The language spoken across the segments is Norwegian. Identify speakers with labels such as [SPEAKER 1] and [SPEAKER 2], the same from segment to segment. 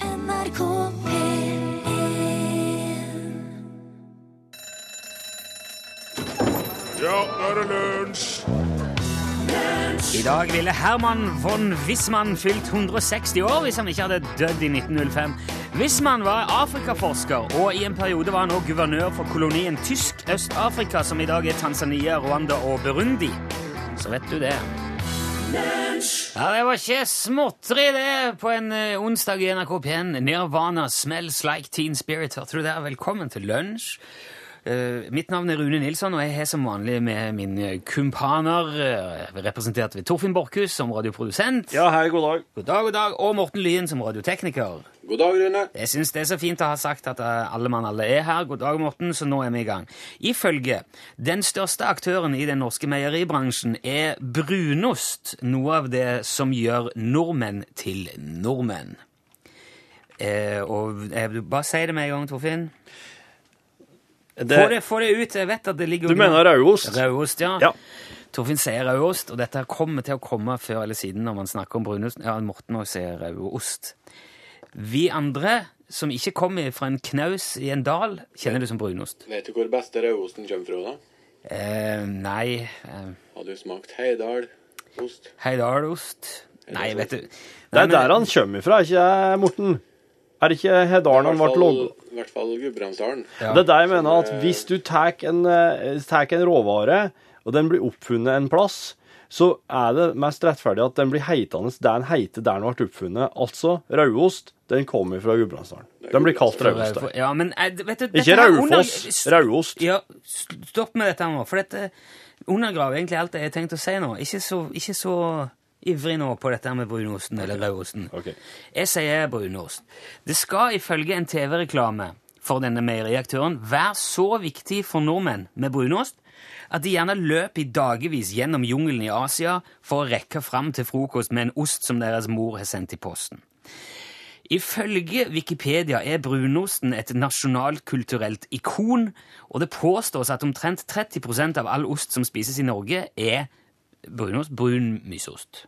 [SPEAKER 1] NRK P1
[SPEAKER 2] Ja, nå er det lunsj!
[SPEAKER 3] I dag ville Herman von Wissmann fylt 160 år hvis han ikke hadde dødd i 1905. Wissmann var Afrikaforsker, og i en periode var han også guvernør for kolonien Tysk Øst-Afrika, som i dag er Tanzania, Rwanda og Burundi. Så vet du det. Ja, Det var ikke småtteri, det, på en eh, onsdag i NRK P1. Nirvana smells like teen spirit. Hørte du der? Velkommen til lunsj. Eh, mitt navn er Rune Nilsson, og jeg har som vanlig med mine kumpaner, eh, representert ved Torfinn Borchhus som radioprodusent,
[SPEAKER 4] Ja, hei, god dag.
[SPEAKER 3] god dag, god dag, og Morten Lyen som radiotekniker.
[SPEAKER 4] God dag, Rune.
[SPEAKER 3] Jeg syns det er så fint å ha sagt at eh, alle mann alle er her. God dag, Morten, så nå er vi i gang. Ifølge den største aktøren i den norske meieribransjen er brunost noe av det som gjør nordmenn til nordmenn. Eh, og eh, Bare si det med en gang, Torfinn. Få det, få det ut. Jeg vet at det ligger
[SPEAKER 4] du mener rauost?
[SPEAKER 3] Rauost, ja.
[SPEAKER 4] Ja.
[SPEAKER 3] Torfinn sier rauost, og dette her kommer til å komme før eller siden når man snakker om brunost. Ja, Morten også sier rauost. Vi andre som ikke kommer fra en knaus i en dal, kjenner det som brunost.
[SPEAKER 5] Vet du hvor beste rødosten kommer fra, da?
[SPEAKER 3] Eh, nei eh,
[SPEAKER 5] Har du smakt Heidal-ost?
[SPEAKER 3] Heidalost Nei, vet du
[SPEAKER 4] Det er der han kommer ifra, ikke jeg, Morten? Er det ikke Hedalen han ble logga?
[SPEAKER 5] I hvert fall Gudbrandsdalen.
[SPEAKER 3] Ja.
[SPEAKER 4] Det er der jeg mener at hvis du tar en, eh, tek en råvare, og den blir oppfunnet en plass, så er det mest rettferdig at den blir heitende der den heiter der den ble oppfunnet. Altså, rauost, den kommer fra Gudbrandsdalen. Den blir kalt rauost der.
[SPEAKER 3] Ja, men eh, vet du dette
[SPEAKER 4] Ikke
[SPEAKER 3] her under-
[SPEAKER 4] Raufoss, rauost.
[SPEAKER 3] Ja, stopp med dette nå, for dette eh, undergraver egentlig alt det jeg har tenkt å si nå. Ikke så, ikke så ivrig nå på dette med brunosten eller rødosten.
[SPEAKER 4] Ok.
[SPEAKER 3] Jeg sier brunost. Det skal ifølge en TV-reklame for denne meieriaktøren være så viktig for nordmenn med brunost at de gjerne løp i dagevis gjennom jungelen i Asia for å rekke fram til frokost med en ost som deres mor har sendt i posten. Ifølge Wikipedia er brunosten et nasjonalt kulturelt ikon, og det påstås at omtrent 30 av all ost som spises i Norge, er brunost, brun mysost.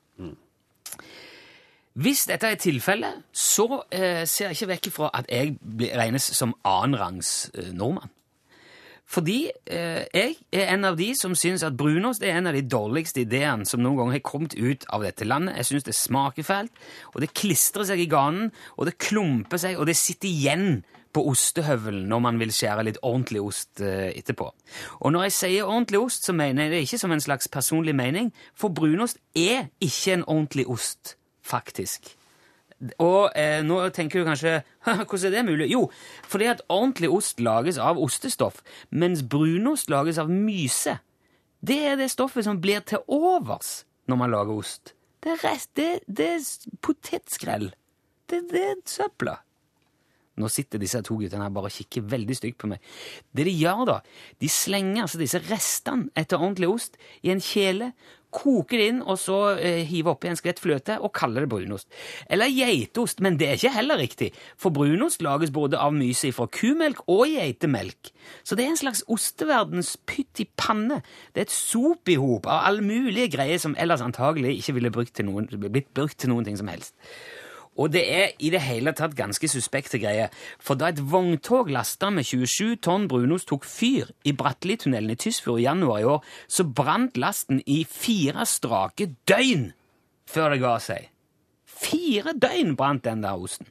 [SPEAKER 3] Hvis dette er tilfellet, så eh, ser jeg ikke vekk ifra at jeg blir- regnes som annenrangs eh, nordmann. Fordi eh, jeg er en av de som syns at brunost er en av de dårligste ideene som noen gang har kommet ut av dette landet. Jeg syns det smaker fælt, og det klistrer seg i ganen, og det klumper seg, og det sitter igjen på ostehøvelen når man vil skjære litt ordentlig ost eh, etterpå. Og når jeg sier ordentlig ost, så mener jeg det ikke som en slags personlig mening, for brunost er ikke en ordentlig ost, faktisk. Og eh, nå tenker du kanskje «Haha, Hvordan er det mulig? Jo, fordi at ordentlig ost lages av ostestoff, mens brunost lages av myse. Det er det stoffet som blir til overs når man lager ost. Det er, rest, det, det er s- potetskrell. Det, det er søpla. Nå sitter disse to guttene her bare og kikker veldig stygt på meg. Det de gjør, da, de slenger altså disse restene etter ordentlig ost i en kjele, koker det inn, og så eh, hiver oppi en skvett fløte og kaller det brunost. Eller geitost, men det er ikke heller riktig, for brunost lages både av myse fra kumelk og geitemelk. Så det er en slags osteverdens pytt i panne. Det er et sop i hop av all mulige greier som ellers antagelig ikke ville brukt til noen, blitt brukt til noen ting som helst. Og det er i det hele tatt ganske suspekte greier. For da et vogntog lasta med 27 tonn brunost tok fyr i Bratteli-tunnelen i Tysfjord i januar i år, så brant lasten i fire strake døgn før det ga seg. Fire døgn brant den der osten.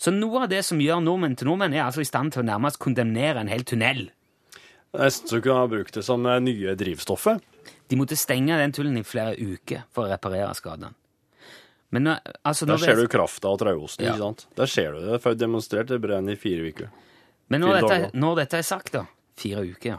[SPEAKER 3] Så noe av det som gjør nordmenn til nordmenn, er altså i stand til å nærmest kondemnere en hel tunnel.
[SPEAKER 4] Nesten så kunne han brukt det som eh, nye drivstoffet.
[SPEAKER 3] De måtte stenge den tunnelen i flere uker for å reparere skadene. Men nå, altså, nå
[SPEAKER 4] Der ser
[SPEAKER 3] vet-
[SPEAKER 4] du krafta av trauosten,
[SPEAKER 3] Ja.
[SPEAKER 4] ikke sant? Der ser du det. For jeg demonstrerte det brenner i fire uker.
[SPEAKER 3] Men når
[SPEAKER 4] Fire
[SPEAKER 3] dette,
[SPEAKER 4] dager.
[SPEAKER 3] når dette er sagt, da Fire uker, ja.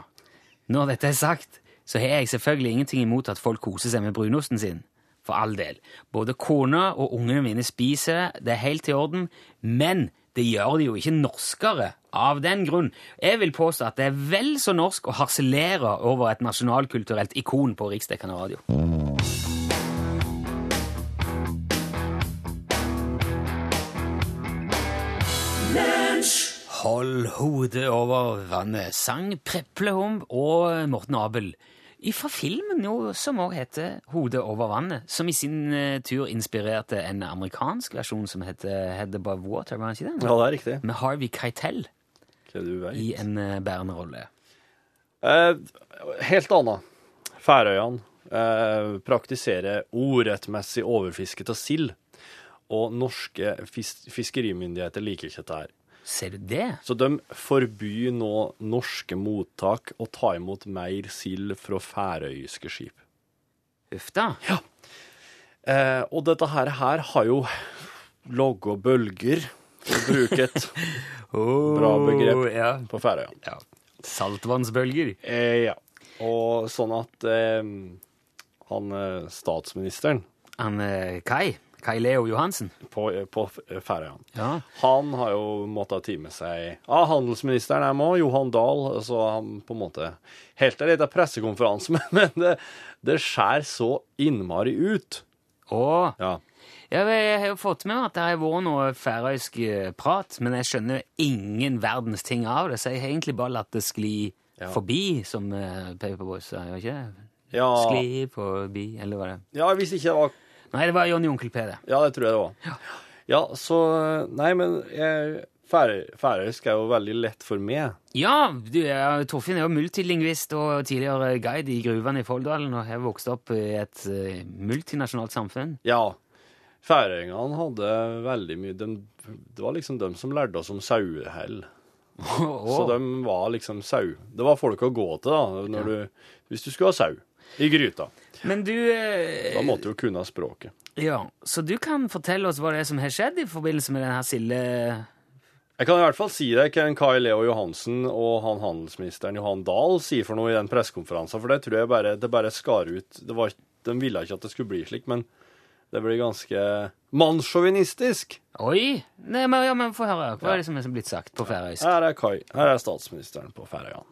[SPEAKER 3] Når dette er sagt, så har jeg selvfølgelig ingenting imot at folk koser seg med brunosten sin. For all del. Både kona og ungene mine spiser det, det er helt i orden, men det gjør de jo ikke norskere av den grunn. Jeg vil påstå at det er vel så norsk å harselere over et nasjonalkulturelt ikon på riksdekkende radio. Hold hodet over vannet, sang Preplehom og Morten Abel Fra filmen jo, som også heter 'Hodet over vannet', som i sin eh, tur inspirerte en amerikansk versjon som heter 'Head Above Water', var det ikke det?
[SPEAKER 4] Ja, det er riktig.
[SPEAKER 3] Med Harvey Keitel
[SPEAKER 4] Hva du vet.
[SPEAKER 3] i en eh, bærende rolle.
[SPEAKER 4] Eh, helt annet. Færøyene eh, praktiserer urettmessig overfiske av sild. Og norske fis fiskerimyndigheter liker ikke dette her.
[SPEAKER 3] Ser du det?
[SPEAKER 4] Så de forbyr nå norske mottak å ta imot mer sild fra færøyske skip.
[SPEAKER 3] Uff da.
[SPEAKER 4] Eh, og dette her, her har jo logga bølger, for å bruke et bra begrep,
[SPEAKER 3] Ja.
[SPEAKER 4] på Færøyene.
[SPEAKER 3] ja. Saltvannsbølger.
[SPEAKER 4] Eh, ja. Og sånn at eh, han eh, statsministeren
[SPEAKER 3] Han eh, Kai. Kai Leo Johansen.
[SPEAKER 4] på, på Færøyene.
[SPEAKER 3] Ja.
[SPEAKER 4] Han har jo måttet time seg av handelsministeren her med, Johan Dahl, så han på en måte helt til litt av pressekonferanse, men- men det, det skjer så innmari ut.
[SPEAKER 3] Og
[SPEAKER 4] Ja.
[SPEAKER 3] ja, jeg har jo fått med meg at det har vært noe færøysk eh, prat, men jeg skjønner ingen verdens ting av det, så jeg har egentlig bare latt det skli forbi, som eh, Paperboys sa, gjør ikke det?
[SPEAKER 4] Ja,
[SPEAKER 3] Skli forbi, eller hva det
[SPEAKER 4] ja, hvis ikke det var
[SPEAKER 3] Nei, det var Johnny Onkel P, det.
[SPEAKER 4] Ja, det tror jeg det var. Ja, så Nei, men jeg, færøy, færøysk er jo veldig lett for meg.
[SPEAKER 3] Ja, du, ja, Torfinn er jo multilingvist og tidligere guide i gruvene i Folldalen, og har vokst opp i et eh, multinasjonalt samfunn.
[SPEAKER 4] Ja. Færøyingene hadde veldig mye de, Det var liksom dem som lærte oss om sauehell. Så
[SPEAKER 3] Og- og-
[SPEAKER 4] de var liksom sau. Det var folk å gå til, da, når du, hvis du skulle ha sau i gryta.
[SPEAKER 3] Men du eh,
[SPEAKER 4] Da måtte du jo kunne språket.
[SPEAKER 3] Ja, så du kan fortelle oss hva det er som har skjedd i forbindelse med denne silde...
[SPEAKER 4] Jeg kan i hvert fall si deg hva en Kai Leo Johansen og han handelsministeren Johan Dahl sier for noe i den pressekonferansen, for det tror jeg bare, det bare skar ut. Det var, ikke- de ville ikke at det skulle bli slik, men det ble ganske mannssjåvinistisk.
[SPEAKER 3] Oi! Nei, men, ja, men få høre. Hva
[SPEAKER 4] Ja.
[SPEAKER 3] er det som er blitt sagt på færøysk?
[SPEAKER 4] Her er Kai, her er statsministeren på Færøyene.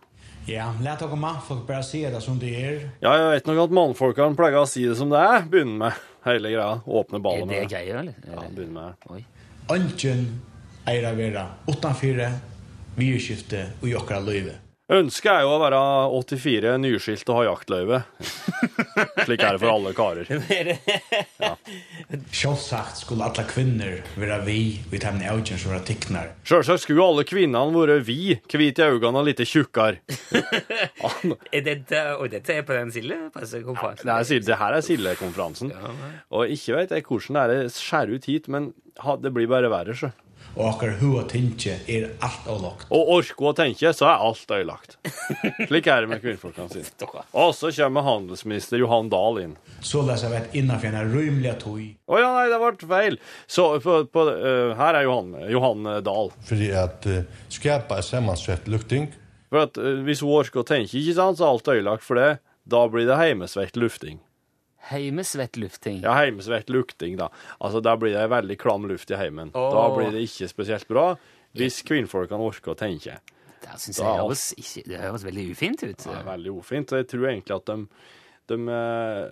[SPEAKER 1] Ja, lät dere mannfolk bara se det som det är.
[SPEAKER 4] Ja, jeg vet nok at mannfolkene pleier å si det som det er, begynner med hele greia, åpne
[SPEAKER 3] Er
[SPEAKER 4] ballet
[SPEAKER 3] det
[SPEAKER 4] med det.
[SPEAKER 3] greia, eller?
[SPEAKER 4] Ja,
[SPEAKER 3] Er det-
[SPEAKER 4] begynner med det.
[SPEAKER 3] Oi.
[SPEAKER 1] Öntjen eira vera utanfyra virskifte och jokra löjve.
[SPEAKER 4] Ønsket er jo å være 84, nyskilt og ha jaktløyve. Slik er det for alle karer.
[SPEAKER 1] Självsagt skulle alla kvinnor vera vi vid tämne öntjen som våra ticknar.
[SPEAKER 4] Sjølsagt skulle alle kvinnene vært vi, hvit i øynene og lite tjukkere.
[SPEAKER 3] Er dette, og dette er på den sildepressekonferansen?
[SPEAKER 4] Det, er, Sil- det her er Sildekonferansen. Og ikke vet jeg hvordan det er det skjærer ut hit, men ha, det blir bare verre. Så.
[SPEAKER 1] Och åker hua tinge är er allt och lågt.
[SPEAKER 4] Og orke å tenke, så er alt ødelagt. Slik er det med kvinnfolkene sine. Og så kommer handelsminister Johan Dahl inn.
[SPEAKER 1] Så läser vi ett innanför en rymliga tog.
[SPEAKER 4] Å ja, nei, det ble feil! Så på, på, eh, her er Johan, Johan eh, Dahl.
[SPEAKER 6] Fordi at eh, skjerpa er sammensatt lukting.
[SPEAKER 4] For at eh, hvis hun orker å tenke, ikke sant, så er alt ødelagt for det. Da blir det heimesvett lufting.
[SPEAKER 3] Heimesvett lufting.
[SPEAKER 4] Ja, heimesvett lukting, da. Altså, da blir det veldig klam luft i heimen. Da
[SPEAKER 3] Åh.
[SPEAKER 4] blir det ikke spesielt bra hvis kvinnfolkene orker å tenke.
[SPEAKER 3] Det, synes jeg
[SPEAKER 4] Da-
[SPEAKER 3] høres ikke, det høres veldig ufint ut.
[SPEAKER 4] Det er veldig ufint. og Jeg tror egentlig at de, de eh,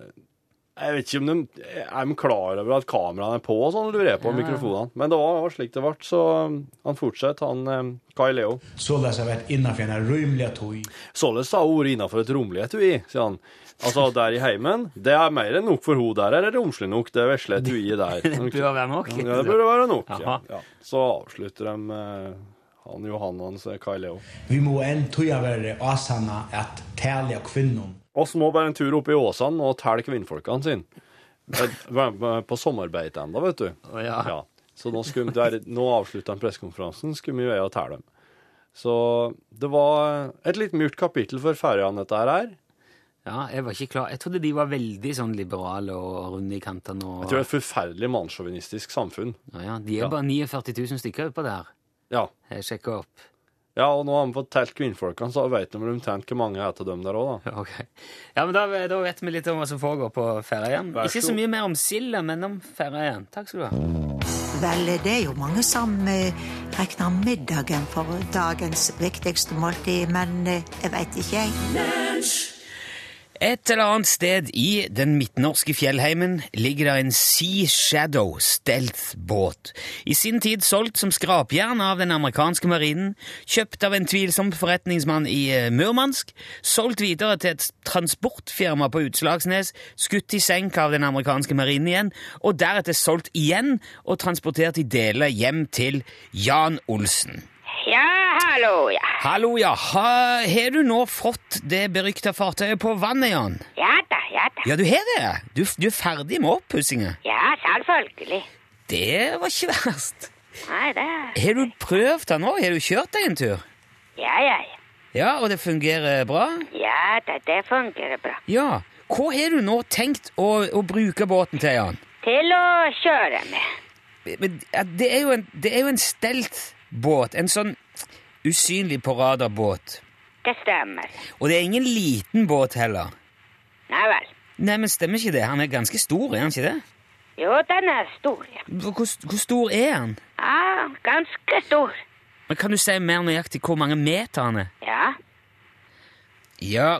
[SPEAKER 4] Jeg vet ikke om de er de klar over at kameraene er på og sånn, lurer jeg på,
[SPEAKER 3] Ja, ja.
[SPEAKER 4] mikrofonene. Men det var, det var slik det ble, så um, han fortsetter, han eh, Kai Leo.
[SPEAKER 1] Så läser vi ett innanför en rymliga tog.
[SPEAKER 4] Således sa ordet innafor et romlig etui, sier han. Altså, der i heimen, det er mer enn nok for ho der, er det romslig nok, det vesle etuiet der.
[SPEAKER 3] Det bør være nok.
[SPEAKER 4] Ja, det burde være nok. Ja.
[SPEAKER 3] Jaha.
[SPEAKER 4] Ja. Så avslutter de eh, han Johan hans eh, Kai Leo.
[SPEAKER 1] Vi må en toja värre asanna att tälja kvinnor.
[SPEAKER 4] Oss må bare en tur opp i Åsane og telle kvinnfolkene sine. Være med På sommerbeite enda, vet du.
[SPEAKER 3] Å, ja.
[SPEAKER 4] Så nå, skulle, der, nå avslutta han pressekonferansen, skulle vi være og telle dem. Så det var et litt murt kapittel for Færøyene, dette her.
[SPEAKER 3] Ja, jeg var ikke klar. Jeg trodde de var veldig sånn liberale og runde i kantene. Og...
[SPEAKER 4] Jeg tror det er et forferdelig mannssjåvinistisk samfunn.
[SPEAKER 3] Ja, ja, de er bare 49 000 stykker oppå der.
[SPEAKER 4] Ja.
[SPEAKER 3] Jeg sjekker opp.
[SPEAKER 4] ja, og nå har vi fått telt kvinnfolkene, så veit de omtrent hvor mange er til dem der òg, da.
[SPEAKER 3] Ok. Ja, men da, da vet vi litt om hva som foregår på Færøyene.
[SPEAKER 4] Vær så
[SPEAKER 3] Ikke så
[SPEAKER 4] god.
[SPEAKER 3] mye mer om silda, men om Færøyene. Takk skal du ha.
[SPEAKER 7] Vel, det er jo mange som eh, regner middagen for dagens viktigste måltid, men eh, jeg veit ikke, jeg.
[SPEAKER 3] Et eller annet sted i den midtnorske fjellheimen ligger det en Sea Shadow Stealth-båt. I sin tid solgt som skrapjern av den amerikanske marinen, kjøpt av en tvilsom forretningsmann i eh, Murmansk, solgt videre til et transportfirma på Utslagsnes, skutt i senk av den amerikanske marinen igjen, og deretter solgt igjen og transportert i deler hjem til Jan Olsen.
[SPEAKER 8] Ja, hallo, ja.
[SPEAKER 3] Hallo, ja. Ha, har du nå fått det berykta fartøyet på vannet, Jan?
[SPEAKER 8] Ja da, ja da.
[SPEAKER 3] Ja, du har det. Du, du er ferdig med oppussinga.
[SPEAKER 8] Ja, selvfølgelig.
[SPEAKER 3] Det var ikke verst.
[SPEAKER 8] Nei, det
[SPEAKER 3] Har du prøvd den nå? Har du kjørt deg en tur?
[SPEAKER 8] Ja, ja, ja.
[SPEAKER 3] Ja, og det fungerer bra?
[SPEAKER 8] Ja da, det fungerer bra.
[SPEAKER 3] Ja. Hva har du nå tenkt å, å bruke båten til, Jan?
[SPEAKER 8] Til å kjøre med.
[SPEAKER 3] Men, ja, det er jo en, det er jo en stelt båt. En sånn usynlig på radar-båt.
[SPEAKER 8] Det stemmer.
[SPEAKER 3] Og det er ingen liten båt heller.
[SPEAKER 8] Nei vel.
[SPEAKER 3] Nei, men stemmer ikke det? Han er ganske stor, er han ikke det?
[SPEAKER 8] Jo, den er stor, ja.
[SPEAKER 3] Hvor, hvor stor er han?
[SPEAKER 8] Ja, ganske stor.
[SPEAKER 3] Men Kan du si mer nøyaktig hvor mange meter han er?
[SPEAKER 8] Ja.
[SPEAKER 3] Ja,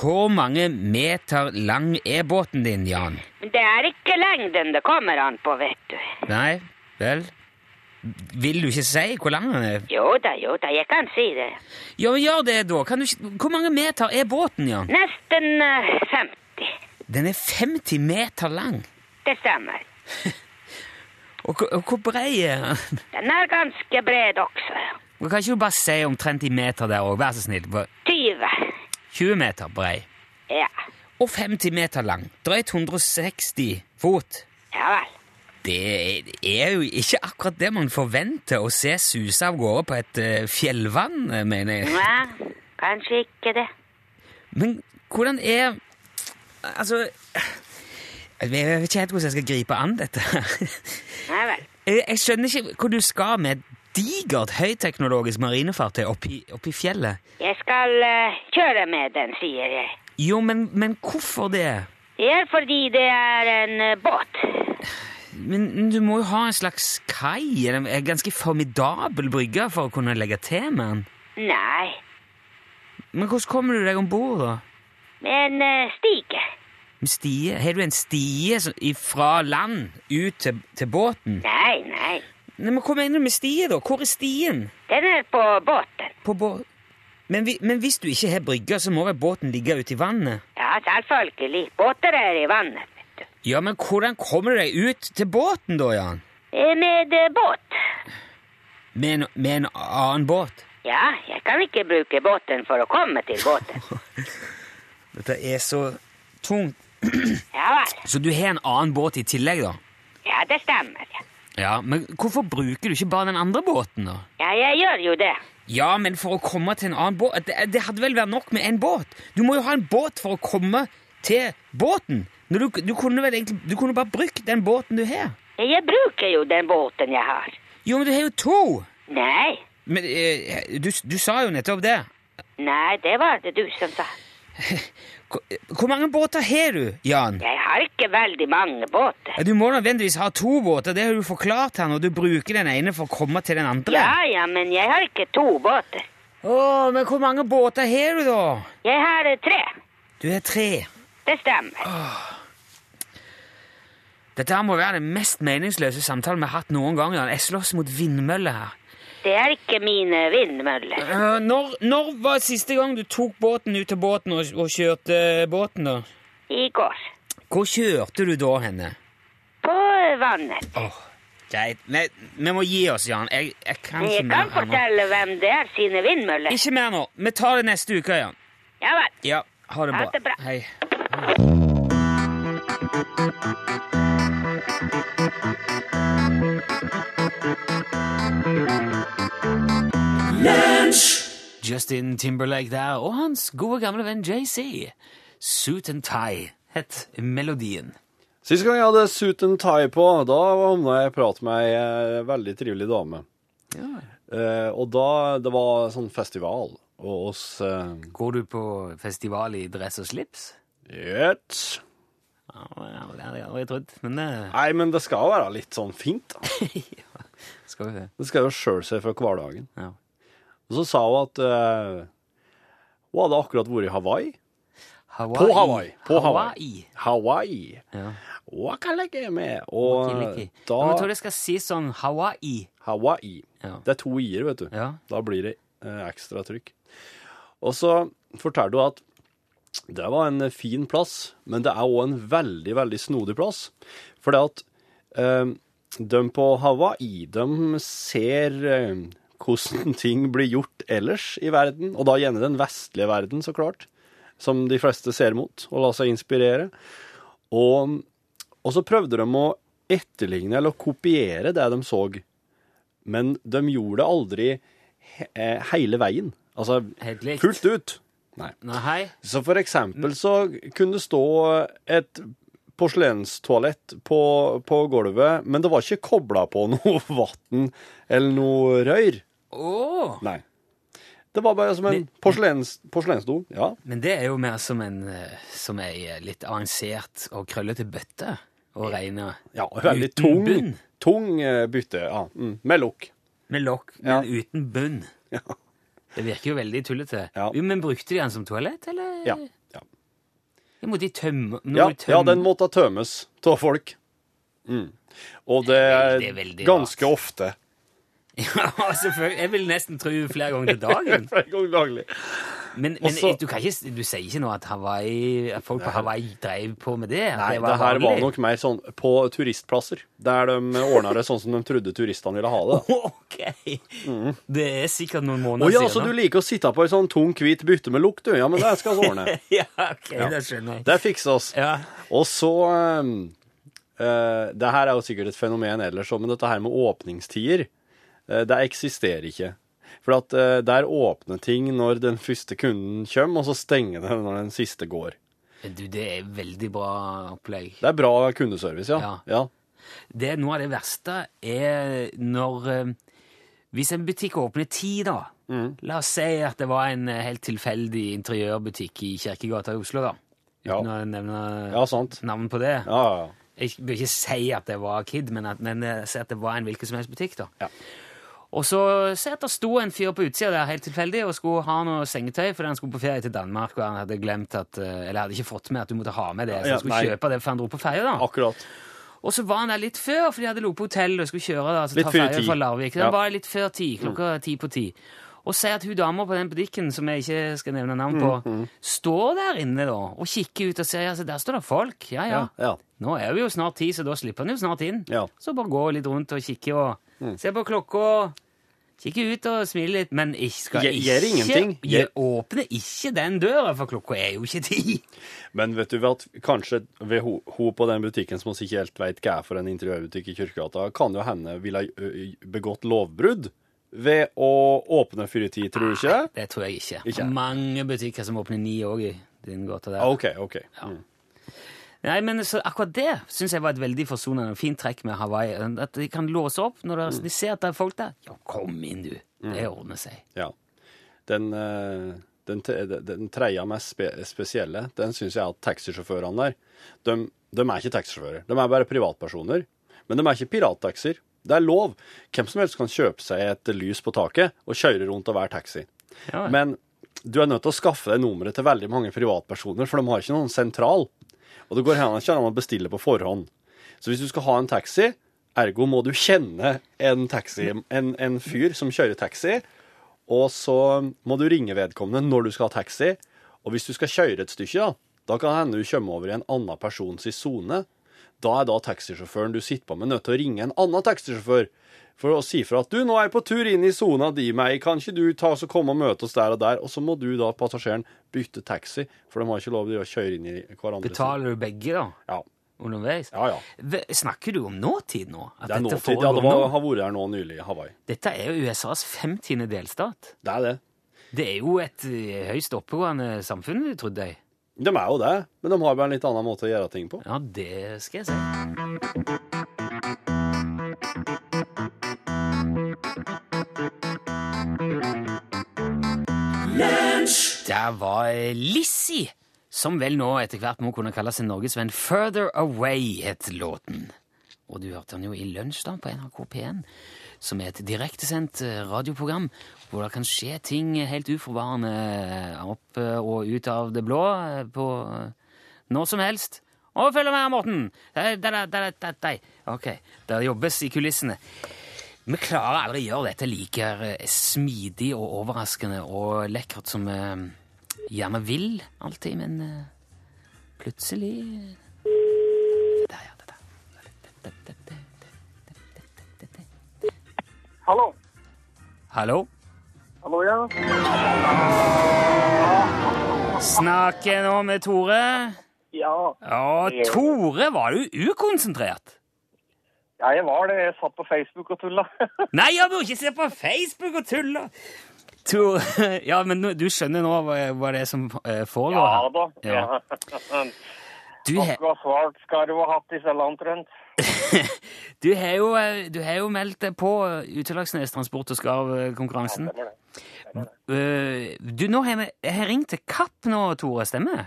[SPEAKER 3] hvor mange meter lang er båten din, Jan?
[SPEAKER 8] Men det er ikke lengden det kommer an på, vet du.
[SPEAKER 3] Nei, vel Vil du ikke si hvor lang den er?
[SPEAKER 8] Jo da, jo da, jeg kan si det.
[SPEAKER 3] Ja, men gjør det, da! Kan du ikke... Hvor mange meter er båten, Jan?
[SPEAKER 8] Nesten eh, 50.
[SPEAKER 3] Den er 50 meter lang.
[SPEAKER 8] Det stemmer.
[SPEAKER 3] Og, hvor- og hvor brei er den?
[SPEAKER 8] Den er ganske bred også.
[SPEAKER 3] Og Kan ikke du bare si omtrent i meter der òg? Vær så snill. Bare
[SPEAKER 8] 20.
[SPEAKER 3] 20 meter brei.
[SPEAKER 8] Ja.
[SPEAKER 3] Og 50 meter lang. Drøyt 160 fot.
[SPEAKER 8] Ja vel.
[SPEAKER 3] Det er jo ikke akkurat det man forventer å se suse av gårde på et eh, fjellvann, eh, mener jeg.
[SPEAKER 8] Nei, kanskje ikke det.
[SPEAKER 3] Men hvordan er Altså Jeg vet ikke helt hvordan jeg skal gripe an dette. her.
[SPEAKER 8] Nei vel.
[SPEAKER 3] Jeg jeg skjønner ikke hvor du skal med et digert høyteknologisk marinefartøy oppi, oppi fjellet.
[SPEAKER 8] Jeg skal eh, kjøre med den, sier jeg.
[SPEAKER 3] Jo, men, men hvorfor det?
[SPEAKER 8] Det er fordi det er en eh, båt.
[SPEAKER 3] Men men du må jo ha en slags kai, eller en ganske formidabel brygge, for å kunne legge til med den.
[SPEAKER 8] Nei,
[SPEAKER 3] Men hvordan kommer du deg om bord, da?
[SPEAKER 8] men eh, stige.
[SPEAKER 3] Med Stie? Har du en stie som- fra land ut til, til båten?
[SPEAKER 8] Nei, nei.
[SPEAKER 3] Nei, men Hva mener du med stie, da? Hvor er stien?
[SPEAKER 8] Den er på båten.
[SPEAKER 3] På bå men, vi, men hvis du ikke har brygge, så må vel båten ligge ute i vannet?
[SPEAKER 8] Ja, altså, selvfølgelig. Båter er i vannet. vet du.
[SPEAKER 3] Ja, men hvordan kommer du deg ut til båten, da, Jan?
[SPEAKER 8] Eh, Med eh, båt.
[SPEAKER 3] Med en, med en annen båt?
[SPEAKER 8] Ja, jeg kan ikke bruke båten for å komme til båten.
[SPEAKER 3] Dette er så tungt.
[SPEAKER 8] Ja vel.
[SPEAKER 3] Så du har en annen båt i tillegg, da?
[SPEAKER 8] Ja, det stemmer. ja.
[SPEAKER 3] Ja, men Hvorfor bruker du ikke bare den andre båten, da?
[SPEAKER 8] Ja, jeg gjør jo det.
[SPEAKER 3] Ja, men for å komme til en annen båt Det, det hadde vel vært nok med en båt? Du må jo ha en båt for å komme til båten. Når du, du kunne vel egentlig Du kunne bare brukt den båten du har.
[SPEAKER 8] Jeg bruker jo den båten jeg har.
[SPEAKER 3] Jo, men du har jo to!
[SPEAKER 8] Nei,
[SPEAKER 3] Men eh, du, du sa jo nettopp det.
[SPEAKER 8] nei, det var det du som sa.
[SPEAKER 3] Hvor, hvor mange båter har du, Jan?
[SPEAKER 8] Jeg har ikke veldig mange båter.
[SPEAKER 3] Ja, du må nødvendigvis ha to båter, det har du forklart her, når du bruker den ene for å komme til den andre.
[SPEAKER 8] Ja, ja, men jeg har ikke to båter.
[SPEAKER 3] Å, men hvor mange båter har du, da?
[SPEAKER 8] Jeg har eh, tre.
[SPEAKER 3] Du har tre.
[SPEAKER 8] Det stemmer.
[SPEAKER 3] Dette her må være den mest meningsløse samtalen vi har hatt noen gang. Jan. Jeg slåss mot vindmøller her.
[SPEAKER 8] Det er ikke mine vindmøller.
[SPEAKER 3] Eh, når, når var siste gang du tok båten ut til båten og, og kjørte eh, båten, da?
[SPEAKER 8] I går.
[SPEAKER 3] Hvor kjørte du da henne?
[SPEAKER 8] På vannet.
[SPEAKER 3] Åh, greit. Nei, vi må gi oss, Jan. Jeg, jeg kan
[SPEAKER 8] Men
[SPEAKER 3] ikke
[SPEAKER 8] jeg kan
[SPEAKER 3] mer her nå.
[SPEAKER 8] fortelle hvem det er sine vindmøller.
[SPEAKER 3] Ikke mer nå. Vi tar det neste uke, Jan.
[SPEAKER 8] Ja vel.
[SPEAKER 3] Ja, ha det
[SPEAKER 8] Ha
[SPEAKER 3] bra.
[SPEAKER 8] det bra.
[SPEAKER 3] Hei. Justin Timberlake der, og hans gode gamle venn JC. Suit and tie het melodien.
[SPEAKER 4] Sist gang jeg hadde suit and tie på, da havna jeg i prat med ei eh, veldig trivelig dame. Eh, og da Det var sånn festival, og oss eh,
[SPEAKER 3] Går du på festival i dress og slips?
[SPEAKER 4] Jøts.
[SPEAKER 3] Ja, ja, det hadde jeg aldri trodd, men eh, det
[SPEAKER 4] Nei, men det skal jo være litt sånn fint, da.
[SPEAKER 3] skal vi se.
[SPEAKER 4] Det skal jo sjøl seg fra hverdagen.
[SPEAKER 3] Ja.
[SPEAKER 4] Og så sa hun at eh, hun hadde akkurat vært i Hawaii.
[SPEAKER 3] Hawaii.
[SPEAKER 4] På Hawaii. På
[SPEAKER 3] Hawaii.
[SPEAKER 4] Hawaii. Hawaii.
[SPEAKER 3] Ja.
[SPEAKER 4] Wakaleke med. Og
[SPEAKER 3] Kiliki.
[SPEAKER 4] da
[SPEAKER 3] Men Jeg tror jeg skal si sånn Hawaii.
[SPEAKER 4] Hawaii.
[SPEAKER 3] Ja.
[SPEAKER 4] Det er to i-er, vet du.
[SPEAKER 3] Ja.
[SPEAKER 4] Da blir det eh, ekstra trykk. Og så forteller du at det var en eh, fin plass, men det er òg en veldig, veldig snodig plass. For det at eh, de på Hawaii, de ser eh, hvordan ting blir gjort ellers i verden, og da gjerne den vestlige verden, så klart, som de fleste ser mot og lar seg inspirere. Og, og så prøvde de å etterligne eller kopiere det de så men de gjorde det aldri he eh, hele veien. Altså
[SPEAKER 3] Helt likt.
[SPEAKER 4] fullt ut. Nei.
[SPEAKER 3] Nei, hei.
[SPEAKER 4] Så for eksempel så kunne det stå et porselenstoalett på, på gulvet, men det var ikke kobla på noe vann eller noe rør.
[SPEAKER 3] Åh!
[SPEAKER 4] Nei. Det var bare som en
[SPEAKER 3] Men-
[SPEAKER 4] porselens, porselensdo. Ja.
[SPEAKER 3] Men det er jo mer som en, eh, som ei eh, litt avansert og krøllete bøtte å regne.
[SPEAKER 4] ja veldig
[SPEAKER 3] Uten
[SPEAKER 4] tung,
[SPEAKER 3] bunn.
[SPEAKER 4] tung eh, bytte. Ja. Mm. Med lokk.
[SPEAKER 3] Med lokk,
[SPEAKER 4] Ja.
[SPEAKER 3] men uten bunn.
[SPEAKER 4] Ja.
[SPEAKER 3] Det virker jo veldig tullete.
[SPEAKER 4] Ja.
[SPEAKER 3] Jo, Men brukte de den som toalett, eller?
[SPEAKER 4] Ja. Ja.
[SPEAKER 3] Jeg måtte de tømme, nå må
[SPEAKER 4] Ja,
[SPEAKER 3] de tømme.
[SPEAKER 4] ja, den måtte tømmes av folk. Mm. Og det er
[SPEAKER 3] Det er veldig
[SPEAKER 4] ganske
[SPEAKER 3] rart.
[SPEAKER 4] ofte.
[SPEAKER 3] Ja, selvfølgelig. Jeg vil nesten tro flere ganger til dagen.
[SPEAKER 4] Flere ganger daglig.
[SPEAKER 3] Men, men
[SPEAKER 4] Også-
[SPEAKER 3] du, kan ikke, du sier ikke nå at, Hawaii, at folk på Hawaii drev på med det? at
[SPEAKER 4] Nei, det,
[SPEAKER 3] var
[SPEAKER 4] her var
[SPEAKER 3] vanlig?
[SPEAKER 4] nok mer sånn på turistplasser, der de ordna det sånn som de trodde turistene ville ha det. da.
[SPEAKER 3] Ok! Det er sikkert noen
[SPEAKER 4] Mm. Å
[SPEAKER 3] måneder
[SPEAKER 4] ja, så du
[SPEAKER 3] siden. nå.
[SPEAKER 4] liker å sitte på ei sånn tung, hvit bytte med lukt, du. Ja, men det skal vi ordne.
[SPEAKER 3] ja, ok, det skjønner jeg.
[SPEAKER 4] Det fikser oss.
[SPEAKER 3] Ja.
[SPEAKER 4] Og så ehm, eh, Det her er jo sikkert et fenomen ellers òg, men dette her med åpningstider, eh, det eksisterer ikke. For at eh, der åpner ting når den første kunden kommer, og så stenger det når den siste går.
[SPEAKER 3] Du, det er veldig bra opplegg.
[SPEAKER 4] Det er bra kundeservice, ja.
[SPEAKER 3] Ja.
[SPEAKER 4] ja.
[SPEAKER 3] Det, noe av det verste er når eh, Hvis en butikk åpner ti, da
[SPEAKER 4] Mm.
[SPEAKER 3] La oss si at det var en eh, helt tilfeldig interiørbutikk i Kirkegata i Oslo, da.
[SPEAKER 4] Ja.
[SPEAKER 3] Uten å nevne
[SPEAKER 4] Ja, sant.
[SPEAKER 3] navn på det.
[SPEAKER 4] Ja, ja, ja.
[SPEAKER 3] Jeg bør ikke si at det var Kid, men, at, men eh, si at det var en hvilken som helst butikk. da.
[SPEAKER 4] Ja.
[SPEAKER 3] Og så si at det sto en fyr på utsida der helt tilfeldig og skulle ha noe sengetøy fordi han skulle på ferie til Danmark og han hadde glemt at, eh, eller hadde ikke fått med at du måtte ha med det. Så
[SPEAKER 4] Ja,
[SPEAKER 3] han skulle
[SPEAKER 4] nei.
[SPEAKER 3] kjøpe det før han dro på ferie. da.
[SPEAKER 4] Akkurat.
[SPEAKER 3] Og så var han der litt før, for de hadde ligget på hotell og skulle kjøre. Da, altså,
[SPEAKER 4] Litt
[SPEAKER 3] ta
[SPEAKER 4] før
[SPEAKER 3] ferje
[SPEAKER 4] ti.
[SPEAKER 3] fra Larvik. Det
[SPEAKER 4] Ja. Mm.
[SPEAKER 3] var litt før ti, klokka ti på ti. Og si at hun dama på den butikken, som jeg ikke skal nevne navn på,
[SPEAKER 4] Mm,
[SPEAKER 3] står der inne da, og kikker ut og ser ja, så der står det folk. Ja, ja.
[SPEAKER 4] Ja, ja.
[SPEAKER 3] Nå er vi jo snart ti, så da slipper han jo snart inn.
[SPEAKER 4] Ja. Mm.
[SPEAKER 3] Så bare gå litt rundt og kikke og se på klokka. Kikke ut og smile litt, men ikke, skal
[SPEAKER 4] Gjør- gjør
[SPEAKER 3] ikke
[SPEAKER 4] ingenting.
[SPEAKER 3] Gjør- Åpne ikke den døra, for klokka er jo ikke ti.
[SPEAKER 4] Men vet du hva, at kanskje ved ho, ho på den butikken som oss ikke helt veit hva er for en interiørbutikk i Kirkegata, kan jo hende ville ha ø, ø, begått lovbrudd ved å åpne før i tid, tror du ikke? det?
[SPEAKER 3] Det tror jeg ikke.
[SPEAKER 4] Ikke?
[SPEAKER 3] Mange butikker som åpner ni òg i din gate der.
[SPEAKER 4] OK, OK. Mm.
[SPEAKER 3] Nei, men så akkurat det syns jeg var et veldig forsonende og fint trekk med Hawaii. At de kan låse opp når det- de ser at det er folk der. Ja, kom inn, du. Det ordner seg.
[SPEAKER 4] Ja. Den, eh, den, te- den tredje mest spe, spesielle, den syns jeg er at taxisjåførene der de, de er ikke taxisjåfører. De er bare privatpersoner. Men de er ikke pirattaxier. Det er lov. Hvem som helst kan kjøpe seg et lys på taket og kjøre rundt og være taxi.
[SPEAKER 3] Ja,
[SPEAKER 4] Men du er nødt til å skaffe deg nummeret til veldig mange privatpersoner, for de har ikke noen sentral. Og det går heller ikke an å bestille på forhånd. Så hvis du skal ha en taxi, ergo må du kjenne en, taxi, en, en fyr som kjører taxi, og så må du ringe vedkommende når du skal ha taxi. Og hvis du skal kjøre et stykke, da, da kan det hende du kommer over i en annen persons sone. Da er da taxisjåføren du sitter på med, nødt til å ringe en annen taxisjåfør for å si fra at du, nå er jeg på tur inn i sona di meg, kan ikke du ta oss og komme og møte oss der og der? Og så må du da, passasjeren, bytte taxi, for de har ikke lov til å kjøre inn i hverandre.
[SPEAKER 3] Betaler du begge, da?
[SPEAKER 4] Ja,
[SPEAKER 3] Underveis?
[SPEAKER 4] ja. ja.
[SPEAKER 3] Ve- Snakker du om nåtid nå? At
[SPEAKER 4] Det er
[SPEAKER 3] dette
[SPEAKER 4] nåtid. Ja,
[SPEAKER 3] foregår
[SPEAKER 4] det var,
[SPEAKER 3] nå?
[SPEAKER 4] har vært her nå nylig, Hawaii.
[SPEAKER 3] Dette er jo USAs femtiende delstat.
[SPEAKER 4] Det er det.
[SPEAKER 3] Det er jo et eh, høyst oppegående samfunn, trodde jeg.
[SPEAKER 4] De er jo det, men de har bare en litt annen måte å gjøre ting på.
[SPEAKER 3] Ja, det skal jeg si. Der var Lissi, som vel nå etter hvert må kunne kalle seg norgesvenn. Further Away het låten. Og du hørte den jo i lunsj da på NRK P1. som er et direktesendt eh, radioprogram hvor det kan skje ting helt uforvarende eh, opp eh, og ut av det blå eh, på eh, når som helst. Og følg med, Morten! Dei, dei, dei, dei, dei, dei. Ok, det jobbes i kulissene. Vi klarer aldri å gjøre dette like eh, smidig og overraskende og lekkert som vi gjerne vil alltid, men eh, plutselig Det der, ja, det der. Det, det, det, det, det, det.
[SPEAKER 9] Hallo.
[SPEAKER 3] Hallo?
[SPEAKER 9] Hallo, ja.
[SPEAKER 3] Snakker nå med Tore.
[SPEAKER 9] Ja.
[SPEAKER 3] Ja, Tore, var du ukonsentrert?
[SPEAKER 9] ja, jeg var det. Jeg satt på Facebook og tulla.
[SPEAKER 3] Nei, jeg burde ikke se på Facebook og tulle! Tore, ja, men nå- du skjønner nå hva, hva det er som eh, foregår?
[SPEAKER 9] ja
[SPEAKER 3] her.
[SPEAKER 9] da. Ja.
[SPEAKER 3] Ja. Du, he,
[SPEAKER 9] Noe svart skarv og hatt i langt rundt.
[SPEAKER 3] du, har jo, eh, du har jo meldt deg på eh, Utelagsnes transport- og skarv-konkurransen.
[SPEAKER 9] Det var det.
[SPEAKER 3] Eh, du, nå har vi jeg har ringt til Kapp nå, Tore, stemmer det?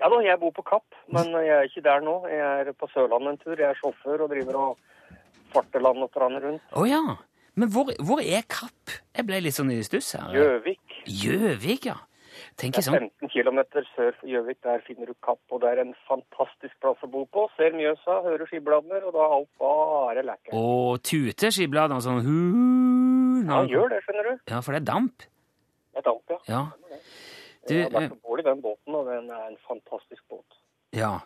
[SPEAKER 9] Ja da, jeg bor på Kapp, men jeg er ikke der nå. Jeg er på Sørlandet en tur. Jeg er sjåfør og driver og farter land og strand rundt.
[SPEAKER 3] Å ja. Men hvor, hvor er Kapp? Jeg ble litt sånn i stuss her.
[SPEAKER 9] Gjøvik.
[SPEAKER 3] Gjøvik, ja. Tenker
[SPEAKER 9] Det er
[SPEAKER 3] sånn
[SPEAKER 9] 15 km sør for Gjøvik. Der finner du Kapp, og det er en fantastisk plass å bo på. Ser Mjøsa, hører skibladene, og da er alt bare lekkert.
[SPEAKER 3] og tuter skibladene sånn hu,
[SPEAKER 9] Ja, gjør det, skjønner du.
[SPEAKER 3] Ja, for det er damp.
[SPEAKER 9] Jeg damp, ja.
[SPEAKER 3] Ja. Du,
[SPEAKER 9] Jeg har vært
[SPEAKER 3] eh,
[SPEAKER 9] om bord i den båten, og den er en fantastisk båt.
[SPEAKER 3] ja.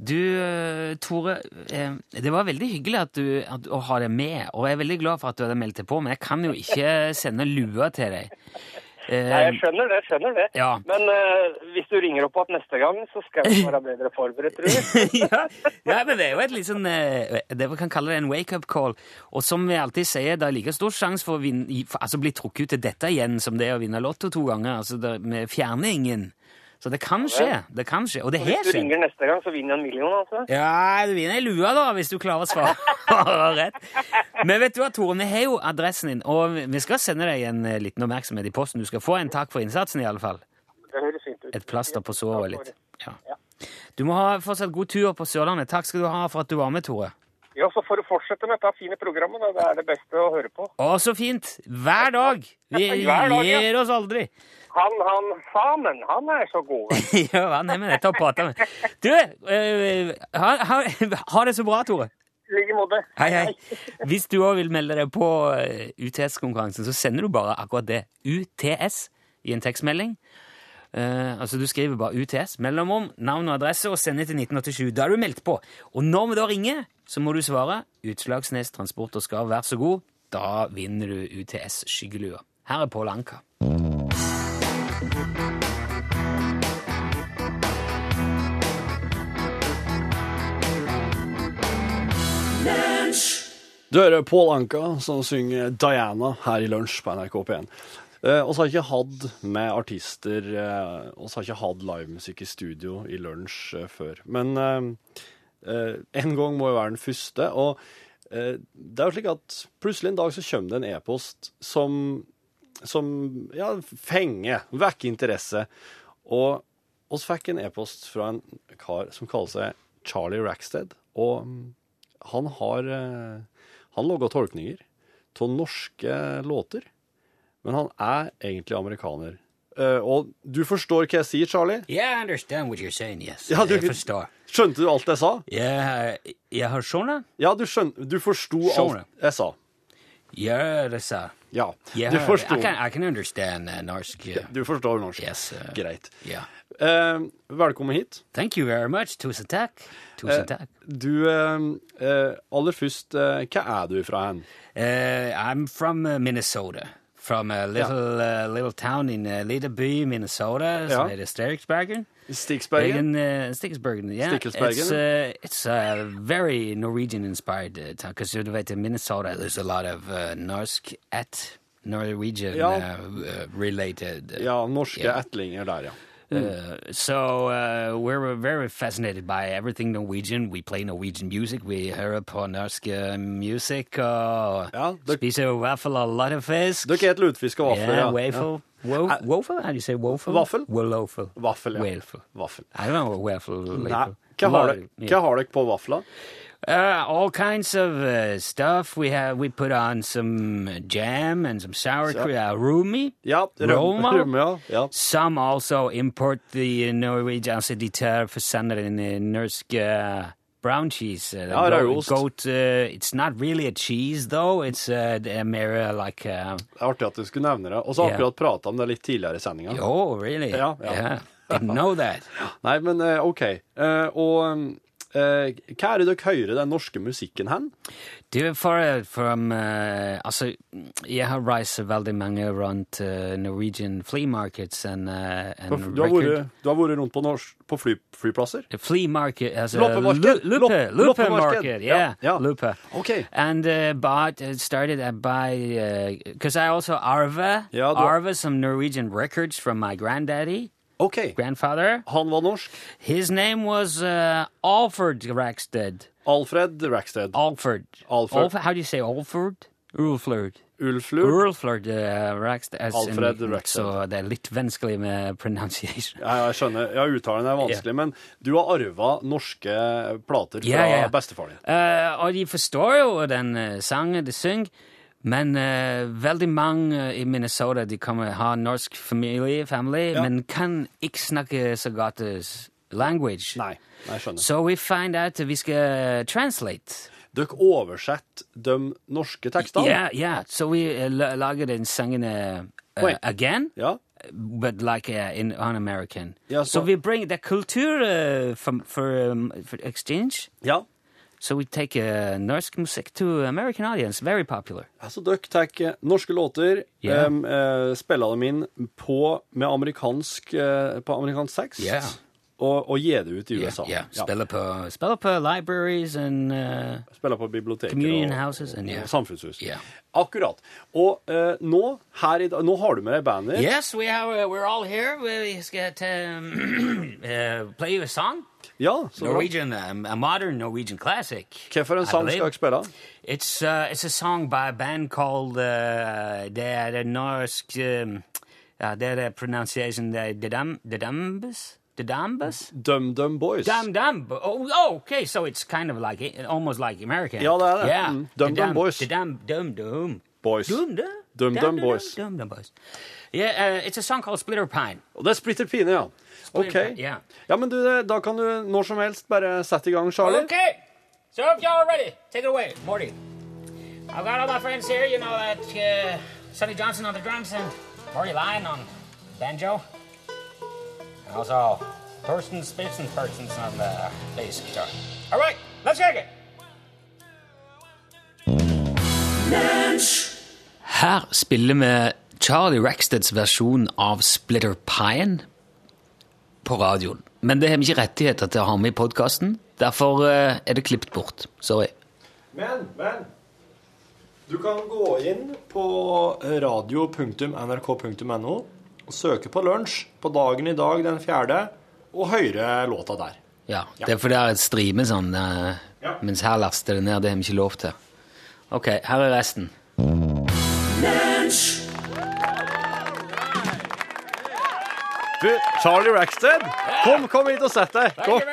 [SPEAKER 3] Du, eh, Tore, eh, det var veldig hyggelig at du, at, å ha deg med, og jeg er veldig glad for at du hadde meldt deg på, men jeg kan jo ikke sende lua til deg. Eh,
[SPEAKER 9] Nei, jeg skjønner det, jeg skjønner det.
[SPEAKER 3] Ja.
[SPEAKER 9] Men eh, hvis du ringer opp igjen neste gang, så skal jeg være bedre forberedt, tror jeg.
[SPEAKER 3] ja, ja, men det er jo et litt sånn eh, Det vi kan kalle det en wake-up call. Og som vi alltid sier, det er like stor sjanse for å vinne, i- for, altså bli trukket ut til dette igjen som det er å vinne Lotto to ganger. Altså det, vi fjerner ingen. Så det kan skje. Det kan skje. Og det har
[SPEAKER 9] Hvis du
[SPEAKER 3] skjedd.
[SPEAKER 9] ringer neste gang, så vinner jeg en million, altså.
[SPEAKER 3] Ja, du vinner ei lue, da, hvis du klarer å svare rett. Men vet du hva, Tore, vi har jo adressen din, og vi skal sende deg en eh, liten oppmerksomhet i posten. Du skal få en takk for innsatsen, i alle fall.
[SPEAKER 9] Det høres fint ut.
[SPEAKER 3] Et plaster på såret litt. Ja.
[SPEAKER 9] Ja.
[SPEAKER 3] Du må ha fortsatt god tur på Sørlandet. Takk skal du ha for at du var med, Tore.
[SPEAKER 9] Ja, så får du fortsette med dette fine programmet, da. Det er det beste å høre på.
[SPEAKER 3] Å, så fint! Hver dag! Vi
[SPEAKER 9] Hver dag, ja.
[SPEAKER 3] gir oss aldri.
[SPEAKER 9] Han, han, fanen, han er så god. vet du.
[SPEAKER 3] ja, hva er med dette å prate med? Du, eh, ha, ha, ha det så bra, Tore.
[SPEAKER 9] I like måte.
[SPEAKER 3] Hei, hei. Hvis du òg vil melde deg på eh, UTS-konkurransen, så sender du bare akkurat det. UTS i en tekstmelding. Eh, altså Du skriver bare UTS, mellomrom, navn og adresse, og sender til 1987. Da er du meldt på. Og når vi da ringer, så må du svare Utslagsnes Transport og Skarv, vær så god. Da vinner du UTS Skyggelua. Her er Pål Anka.
[SPEAKER 4] Du hører Pål Anka som synger Diana her i lunsj på NRK P1. Eh, oss har ikke hatt med artister eh, oss har ikke hatt livemusikk i studio i lunsj eh, før. Men eh, eh, en gang må jo være den første. Og eh, det er jo slik at plutselig en dag så kommer det en e-post som, som ja, fenger, vekker interesse. Og oss fikk en e-post fra en kar som kaller seg Charlie Rackstead. Og mm, han har eh, han lager tolkninger av norske låter, men han er egentlig amerikaner. Eh, og du forstår hva jeg sier, Charlie?
[SPEAKER 3] Yeah, I understand what you're saying, yes.
[SPEAKER 4] Ja, du-
[SPEAKER 3] Jeg forstår.
[SPEAKER 4] Skjønte du alt jeg sa?
[SPEAKER 3] Jeg, jeg har skjønne.
[SPEAKER 4] Ja, du, skjøn... du forsto
[SPEAKER 3] Skjønner.
[SPEAKER 4] alt jeg sa.
[SPEAKER 3] Ja, det sa jeg.
[SPEAKER 4] Ja,
[SPEAKER 3] Yeah,
[SPEAKER 4] du
[SPEAKER 3] I
[SPEAKER 4] forstår.
[SPEAKER 3] can, I can understand uh, Norsk. uh,
[SPEAKER 4] Du forstår norsk.
[SPEAKER 3] Yes. uh,
[SPEAKER 4] Greit.
[SPEAKER 3] yeah.
[SPEAKER 4] Eh, velkommen hit.
[SPEAKER 3] Thank you very much. Tusen takk. Tusen
[SPEAKER 4] Uh,
[SPEAKER 3] takk.
[SPEAKER 4] Du, eh, eh, aller først, eh, hva er du fra hen?
[SPEAKER 3] Uh, I'm from uh, Minnesota. From a little uh, little town in uh, Little Bee, Minnesota, som
[SPEAKER 4] Ja.
[SPEAKER 3] heter Steriksbergen.
[SPEAKER 4] Stigsbergen?
[SPEAKER 3] Bergen, uh, Stikkelbergen, yeah.
[SPEAKER 4] Stikkelsbergen,
[SPEAKER 3] It's, uh, it's a very Norwegian-inspired uh, town, because you know, in Minnesota there's a lot of uh, Norsk uh, at
[SPEAKER 4] Ja.
[SPEAKER 3] Norwegian-related.
[SPEAKER 4] Ja, norske
[SPEAKER 3] Ja.
[SPEAKER 4] ættlinger der, ja.
[SPEAKER 3] So uh, we're very fascinated by everything Norwegian. We play Norwegian music. We hear upon norsk uh, music. Uh,
[SPEAKER 4] Ja, dere-
[SPEAKER 3] spiser waffle a lot of fisk.
[SPEAKER 4] Dere er et lutefisk og vaffel,
[SPEAKER 3] yeah,
[SPEAKER 4] ja.
[SPEAKER 3] waffle. Wo- waffle? How do you say waffle?
[SPEAKER 4] Waffel?
[SPEAKER 3] Waffle.
[SPEAKER 4] Waffel, ja.
[SPEAKER 3] Waffle.
[SPEAKER 4] Vaffel.
[SPEAKER 3] I don't know what waffle.
[SPEAKER 4] Nei,
[SPEAKER 3] waffle.
[SPEAKER 4] hva har
[SPEAKER 3] Lot-
[SPEAKER 4] dere-
[SPEAKER 3] yeah.
[SPEAKER 4] hva har dere på vafla?
[SPEAKER 3] Uh, all kinds of uh, stuff. We have we put on some jam and some sour cream, uh, roomy,
[SPEAKER 4] Ja, røm-
[SPEAKER 3] Roma.
[SPEAKER 4] rømme, ja. ja.
[SPEAKER 3] Some also import the uh, Norwegian, altså de tar for sender den eh, norske uh, brown cheese. eh,
[SPEAKER 4] Ja,
[SPEAKER 3] goat-
[SPEAKER 4] rødost.
[SPEAKER 3] Goat, eh, it's not really a cheese though, it's uh, mere like, uh,
[SPEAKER 4] Det er artig at du skulle nevne det. Og så har
[SPEAKER 3] Ja.
[SPEAKER 4] akkurat prata om det litt tidligere i sendinga.
[SPEAKER 3] oh really?
[SPEAKER 4] Ja, ja.
[SPEAKER 3] Didn't know that.
[SPEAKER 4] Nei, men eh, OK. Eh, og eh, hva er det dere hører den norske musikken hen?
[SPEAKER 3] Du, for, uh, from, eh, altså, jeg har reist veldig mange rundt eh, Norwegian flea markets and, eh, and
[SPEAKER 4] Du har
[SPEAKER 3] record-
[SPEAKER 4] vært, du har vært rundt på, norsk, på fly, flyplasser?
[SPEAKER 3] flea market as a
[SPEAKER 4] Loppemarked.
[SPEAKER 3] lu- Lupe,
[SPEAKER 4] Lopp-
[SPEAKER 3] Lupe
[SPEAKER 4] loppemarked.
[SPEAKER 3] market, yeah,
[SPEAKER 4] Ja, ja.
[SPEAKER 3] Lupe.
[SPEAKER 4] Okay.
[SPEAKER 3] And uh, bought uh, started uh, by because I also arve
[SPEAKER 4] Ja, du-
[SPEAKER 3] arve some Norwegian records from my granddaddy
[SPEAKER 4] OK.
[SPEAKER 3] grandfather.
[SPEAKER 4] Han var norsk.
[SPEAKER 3] His name was uh, Alfred Rackstead.
[SPEAKER 4] Alfred Rackstead.
[SPEAKER 3] Alfred.
[SPEAKER 4] Alfred.
[SPEAKER 3] Alf- How do you say Alfred? Ulflerd.
[SPEAKER 4] Ulflur.
[SPEAKER 3] Ulflerd uh, Rackstead. as in-
[SPEAKER 4] Alfred Rackstead.
[SPEAKER 3] Så det er litt vanskelig med uh, pronunciation.
[SPEAKER 4] Ja, jeg skjønner. Ja, uttalen er vanskelig, men du har arva norske plater fra
[SPEAKER 3] Ja, ja, ja.
[SPEAKER 4] bestefaren din.
[SPEAKER 3] Eh, og de forstår jo den eh, sangen de synger, men eh, veldig mange eh, i Minnesota de kommer ha norsk familie, family, men kan ikke snakke så godt eh, s- language.
[SPEAKER 4] Nei, nei, jeg skjønner.
[SPEAKER 3] Så vi find out vi skal eh, translate.
[SPEAKER 4] Dere oversetter de norske tekstene?
[SPEAKER 3] Ja, ja. Så vi eh, la- lager den sangen eh, eh,
[SPEAKER 4] Wait.
[SPEAKER 3] again,
[SPEAKER 4] Ja.
[SPEAKER 3] but like eh, in, on American.
[SPEAKER 4] Ja,
[SPEAKER 3] så
[SPEAKER 4] så-
[SPEAKER 3] vi bring the kultur eh, from, for, um, for exchange.
[SPEAKER 4] ja.
[SPEAKER 3] So we take uh, norsk music to American audience, very popular.
[SPEAKER 4] Altså, dere tar eh, norske låter,
[SPEAKER 3] Ja.
[SPEAKER 4] em, eh, spiller dem inn på, med amerikansk, eh, på amerikansk tekst,
[SPEAKER 3] Ja.
[SPEAKER 4] og, og gir det ut i USA.
[SPEAKER 3] Yeah, uh, yeah. Spiller på, spiller på libraries and uh,
[SPEAKER 4] Spiller på biblioteker
[SPEAKER 3] Communion
[SPEAKER 4] og,
[SPEAKER 3] houses and- ja.
[SPEAKER 4] og samfunnshus.
[SPEAKER 3] Ja.
[SPEAKER 4] Akkurat. Og eh, nå, her i, dag- nå har du med deg bandet.
[SPEAKER 3] yes, we have. Uh, we're all here. We get um, uh, play you a song,
[SPEAKER 4] Ja, så bra.
[SPEAKER 3] Norwegian, um, a modern Norwegian classic.
[SPEAKER 4] Hvilken
[SPEAKER 3] I
[SPEAKER 4] sang skal
[SPEAKER 3] believe.
[SPEAKER 4] dere spille?
[SPEAKER 3] It's uh, it's a song by a band called uh, the the Norsk. Um, uh, their pronunciation, er the the dam the dambus the dambus
[SPEAKER 4] Dum Dum Boys.
[SPEAKER 3] dam dam. Oh, oh, okay. So it's kind of like almost like American.
[SPEAKER 4] Ja, det er det.
[SPEAKER 3] Yeah,
[SPEAKER 4] Mm. Dum
[SPEAKER 3] The
[SPEAKER 4] Dum
[SPEAKER 3] dam-
[SPEAKER 4] Boys.
[SPEAKER 3] The dam dum dum.
[SPEAKER 4] Boys.
[SPEAKER 3] Dum Dum
[SPEAKER 4] Dum Dum Boys.
[SPEAKER 3] Dum Dum Boys. Yeah, uh, it's a song called Splitter Pine.
[SPEAKER 4] Og det er Splitter Pine, ja. OK.
[SPEAKER 3] Pine, ja.
[SPEAKER 4] Ja, men du, det- da kan du når som helst bare sette i gang, Charlie.
[SPEAKER 3] Okay, so if y'all are ready, take it away, Morty. I've got all my friends here. You know that uh, Sonny Johnson on the drums and Morty Lyon on banjo, and also Thorsten Spitzenpersons on the bass guitar. All right, let's kick it. Her spiller vi Charlie Racksteads versjon av Splitter Pine på radioen. Men det har vi ikke rettigheter til å ha med i podkasten. Derfor eh, er det klippet bort. Sorry.
[SPEAKER 4] Men, men Du kan gå inn på radio.nrk.no og søke på lunsj på dagen i dag, den fjerde, og høre låta der.
[SPEAKER 3] Ja, det er fordi det er et strime sånn, eh,
[SPEAKER 4] Ja.
[SPEAKER 3] mens her laster det ned. Det har vi ikke lov til. Ok, her er resten.
[SPEAKER 4] Du, Charlie Rackstead, kom, kom hit og sett deg. Kom.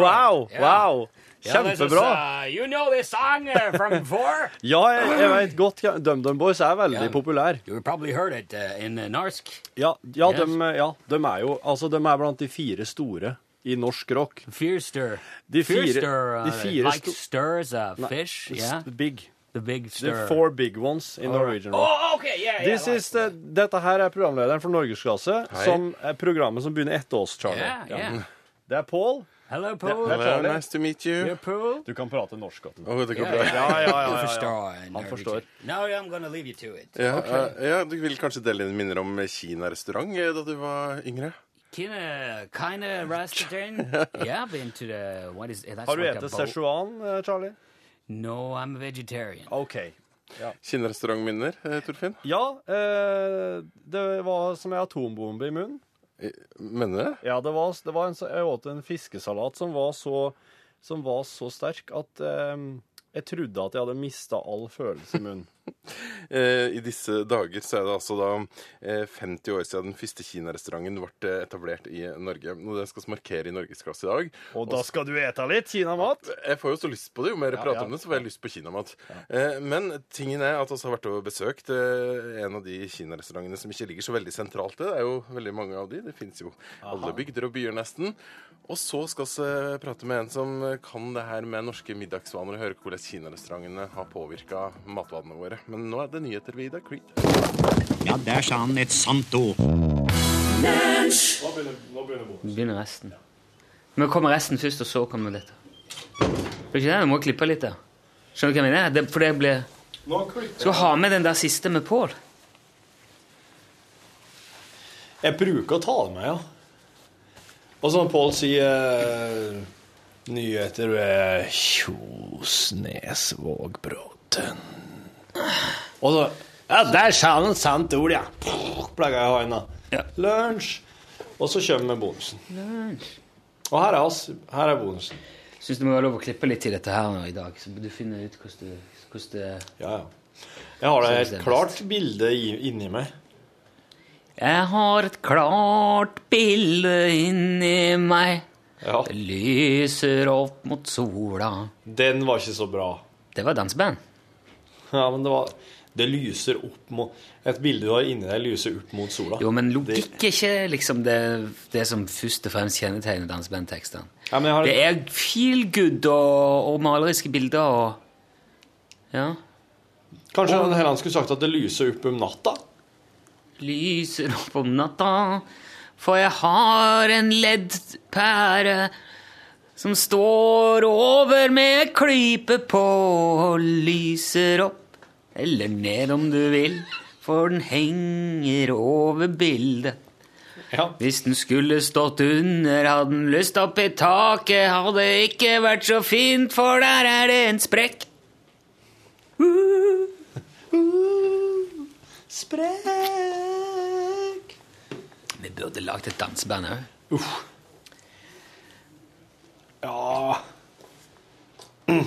[SPEAKER 4] Wow, wow. Kjempebra.
[SPEAKER 3] uh, you know this song uh, from before?
[SPEAKER 4] Ja, jeg, jeg vet godt hva- DumDum Boys er veldig
[SPEAKER 3] Ja.
[SPEAKER 4] populær.
[SPEAKER 3] You probably heard it uh, in Norsk.
[SPEAKER 4] Ja, ja,
[SPEAKER 3] Yes.
[SPEAKER 4] de, ja, de er jo altså, de er blant de fire store i norsk rock.
[SPEAKER 3] Fyrster. uh,
[SPEAKER 4] De fire- de fire
[SPEAKER 3] like
[SPEAKER 4] sto-
[SPEAKER 3] stir as a fish, yeah?
[SPEAKER 4] Big.
[SPEAKER 3] The big
[SPEAKER 4] The
[SPEAKER 3] stir.
[SPEAKER 4] four big ones in Norwegian rock.
[SPEAKER 3] Oh, okay, yeah, yeah.
[SPEAKER 4] This
[SPEAKER 3] like-
[SPEAKER 4] is the, dette her er programlederen for Norgesklasse, som er programmet som begynner etter oss, Charlie.
[SPEAKER 3] Yeah, yeah.
[SPEAKER 4] Det er Paul.
[SPEAKER 3] Hello,
[SPEAKER 4] Det er
[SPEAKER 3] Paul.
[SPEAKER 5] Hello,
[SPEAKER 4] Charlie.
[SPEAKER 5] nice to meet you.
[SPEAKER 3] You're Paul.
[SPEAKER 4] Du kan prate norsk godt.
[SPEAKER 5] Åh, det går
[SPEAKER 3] Ja,
[SPEAKER 5] bra.
[SPEAKER 4] Ja, ja,
[SPEAKER 3] Du
[SPEAKER 4] ja. ja, ja.
[SPEAKER 3] Oh, forstår.
[SPEAKER 4] Han forstår.
[SPEAKER 3] Now I'm gonna leave you to it.
[SPEAKER 5] Ja, eh, ja, du vil kanskje dele dine minner om Kina-restaurant eh, da du var yngre?
[SPEAKER 3] Kinda, kinda restaurant. yeah, I've been to the what is that's
[SPEAKER 4] Har du
[SPEAKER 3] like a
[SPEAKER 4] spist
[SPEAKER 3] bowl-
[SPEAKER 4] Szechuan, eh, Charlie?
[SPEAKER 3] No, I'm a vegetarian.
[SPEAKER 4] OK.
[SPEAKER 5] Kina-restaurantminner, eh, Torfinn?
[SPEAKER 4] Ja, eh, det var som en atombombe i munnen.
[SPEAKER 5] Eh, Mener du det?
[SPEAKER 4] Ja, det var, det var en, så- jeg åt en fiskesalat som var så, som var så sterk at eh, jeg trodde at jeg hadde mista all følelse i munnen.
[SPEAKER 5] Eh, I disse dager så er det altså da eh, 50 år siden den første kinarestauranten ble etablert i Norge. Og det skal vi markere i norgesklasse i dag.
[SPEAKER 10] Og da skal du ete litt kinamat.
[SPEAKER 5] Jeg får jo så lyst på det. Jo mer jeg
[SPEAKER 10] Ja,
[SPEAKER 5] prater
[SPEAKER 10] ja.
[SPEAKER 5] om det, så får jeg lyst på kinamat. Eh, Men tingen er at vi har vært og besøkt eh, en av de kinarestaurantene som ikke ligger så veldig sentralt. Det er jo veldig mange av de. Det fins jo alle bygder og byer, nesten. Og så skal vi eh, prate med en som kan det her med norske middagsvaner, og høre hvordan kinarestaurantene har påvirka matvanene våre. Men nå er det nyheter, Vida. Creed.
[SPEAKER 11] Ja, der sa han et sant ord.
[SPEAKER 3] Begynner resten. Men kommer resten først, og så kommer dette. Blir ikke det? Vi må klippe litt der. Skjønner du hva jeg mener? Det, for det ble... Skal ha med den der siste med Pål.
[SPEAKER 4] Jeg bruker å ta det med, ja. Og som Pål sier eh, Nyheter ved Kjosnesvågbråten. Og så Ja, der sa han et sant ord, ja! Pleier jeg å ha en, da. Lunsj. Og så kommer vi bonusen. Og her er oss. Her er bonusen.
[SPEAKER 3] Syns du må være lov å klippe litt til dette her nå i dag, så du finner ut hvordan du, hvordan det
[SPEAKER 4] Ja, ja. Jeg har da et klart bilde i- inni meg.
[SPEAKER 3] Jeg har et klart bilde inni meg. Det lyser opp mot sola.
[SPEAKER 4] Den var ikke så bra.
[SPEAKER 3] Det var danseband.
[SPEAKER 4] Ja, men det var Det lyser opp mot Et bilde du har inni deg, lyser opp mot sola.
[SPEAKER 3] Jo, men logikk er ikke liksom det, det som først og fremst kjennetegner dansebandtekstene.
[SPEAKER 4] Ja, men jeg har
[SPEAKER 3] Det er feel good og, og maleriske bilder og Ja.
[SPEAKER 4] Kanskje han Helland skulle sagt at det lyser opp om natta?
[SPEAKER 3] Lyser opp om natta, for jeg har en leddpære som står over med klype på og lyser opp, eller ned om du vil, for den henger over bildet. Hvis den skulle stått under, hadde den lyst opp i taket, hadde ikke vært så fint, for der er det en sprekk.
[SPEAKER 4] Sprekk
[SPEAKER 3] Vi burde lagd et danseband òg.
[SPEAKER 4] Ja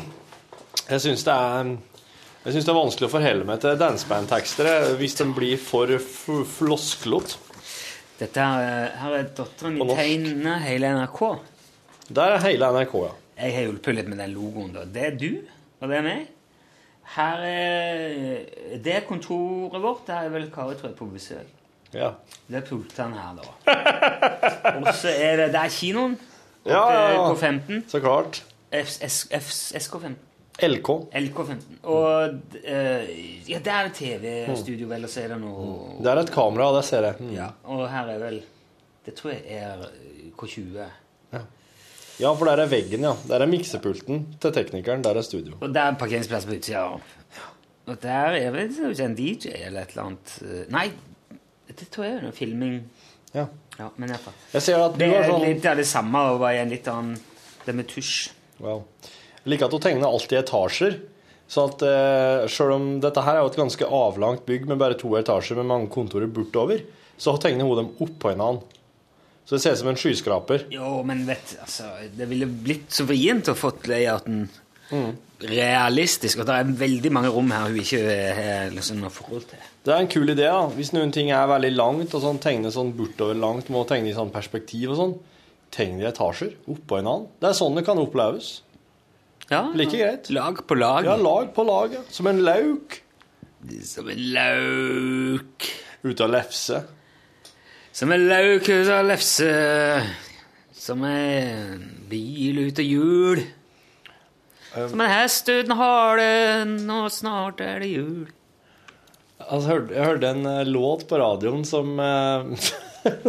[SPEAKER 4] Jeg syns det er Jeg synes det er vanskelig å forholde meg til dansebandtekster jeg, hvis den blir for f- flosklete.
[SPEAKER 3] Dette er, eh, her er datteren
[SPEAKER 4] På
[SPEAKER 3] min
[SPEAKER 4] norsk.
[SPEAKER 3] tegner hele NRK.
[SPEAKER 4] Der er hele NRK, ja.
[SPEAKER 3] Jeg har hjulpet litt med den logoen. da. Det er du, og det er meg. Her er Det er kontoret vårt. Her er vel Kari Trøy på besøk.
[SPEAKER 4] Ja.
[SPEAKER 3] Det er pultene her, da. Og så er det Det er kinoen. Oppe
[SPEAKER 4] Ja, ja, ja.
[SPEAKER 3] På 15.
[SPEAKER 4] Så klart.
[SPEAKER 3] F- S- F- SK15.
[SPEAKER 4] LK.
[SPEAKER 3] LK15. Og eh, ja, der er det TV-studio, vel, og så er det noe
[SPEAKER 4] Det er et kamera, det ser jeg. Mm.
[SPEAKER 3] Og her er vel Det tror jeg er eh, K20.
[SPEAKER 4] Ja, for der er veggen, ja. Der er miksepulten til teknikeren. Der er studio.
[SPEAKER 3] Og der er parkeringsplass på utsida. Og der er vel det er jo ikke en DJ eller et eller annet eh, Nei, det tror jeg er noe filming.
[SPEAKER 4] Ja.
[SPEAKER 3] ja men i hvert fall.
[SPEAKER 4] Jeg ser at du
[SPEAKER 3] Det
[SPEAKER 4] har
[SPEAKER 3] er
[SPEAKER 4] sånn
[SPEAKER 3] litt av det samme, og bare i en litt annen Det med tusj.
[SPEAKER 4] Wow. Jeg liker at hun tegner alt i etasjer. Sånn at eh, Selv om dette her er jo et ganske avlangt bygg med bare to etasjer med mange kontorer bortover, så tegner hun dem oppå hverandre. Så det ser ut som en skyskraper.
[SPEAKER 3] Jo, men vet altså, Det ville blitt så vrient å fått layouten realistisk. Og det er veldig mange rom her hun ikke eh, har liksom noe forhold til.
[SPEAKER 4] Det er en kul idé da, hvis noen ting er veldig langt, og sånn tegne sånn bortover langt, må tegne i sånn perspektiv og sånn. Tegn i etasjer oppå hverandre. Det er sånn det kan oppleves.
[SPEAKER 3] Ja,
[SPEAKER 4] Like greit.
[SPEAKER 3] Lag på lag.
[SPEAKER 4] Ja, lag på lag. ja. Som en lauk.
[SPEAKER 3] Som en lauk.
[SPEAKER 4] Ute og lefse.
[SPEAKER 3] Som en lauk ut av lefse. Som en bil ut av hjul.
[SPEAKER 4] Um.
[SPEAKER 3] Som en hest uten hale. Nå snart er det jul.
[SPEAKER 4] Altså, jeg hørte- jeg hørte en eh, låt på radioen som eh,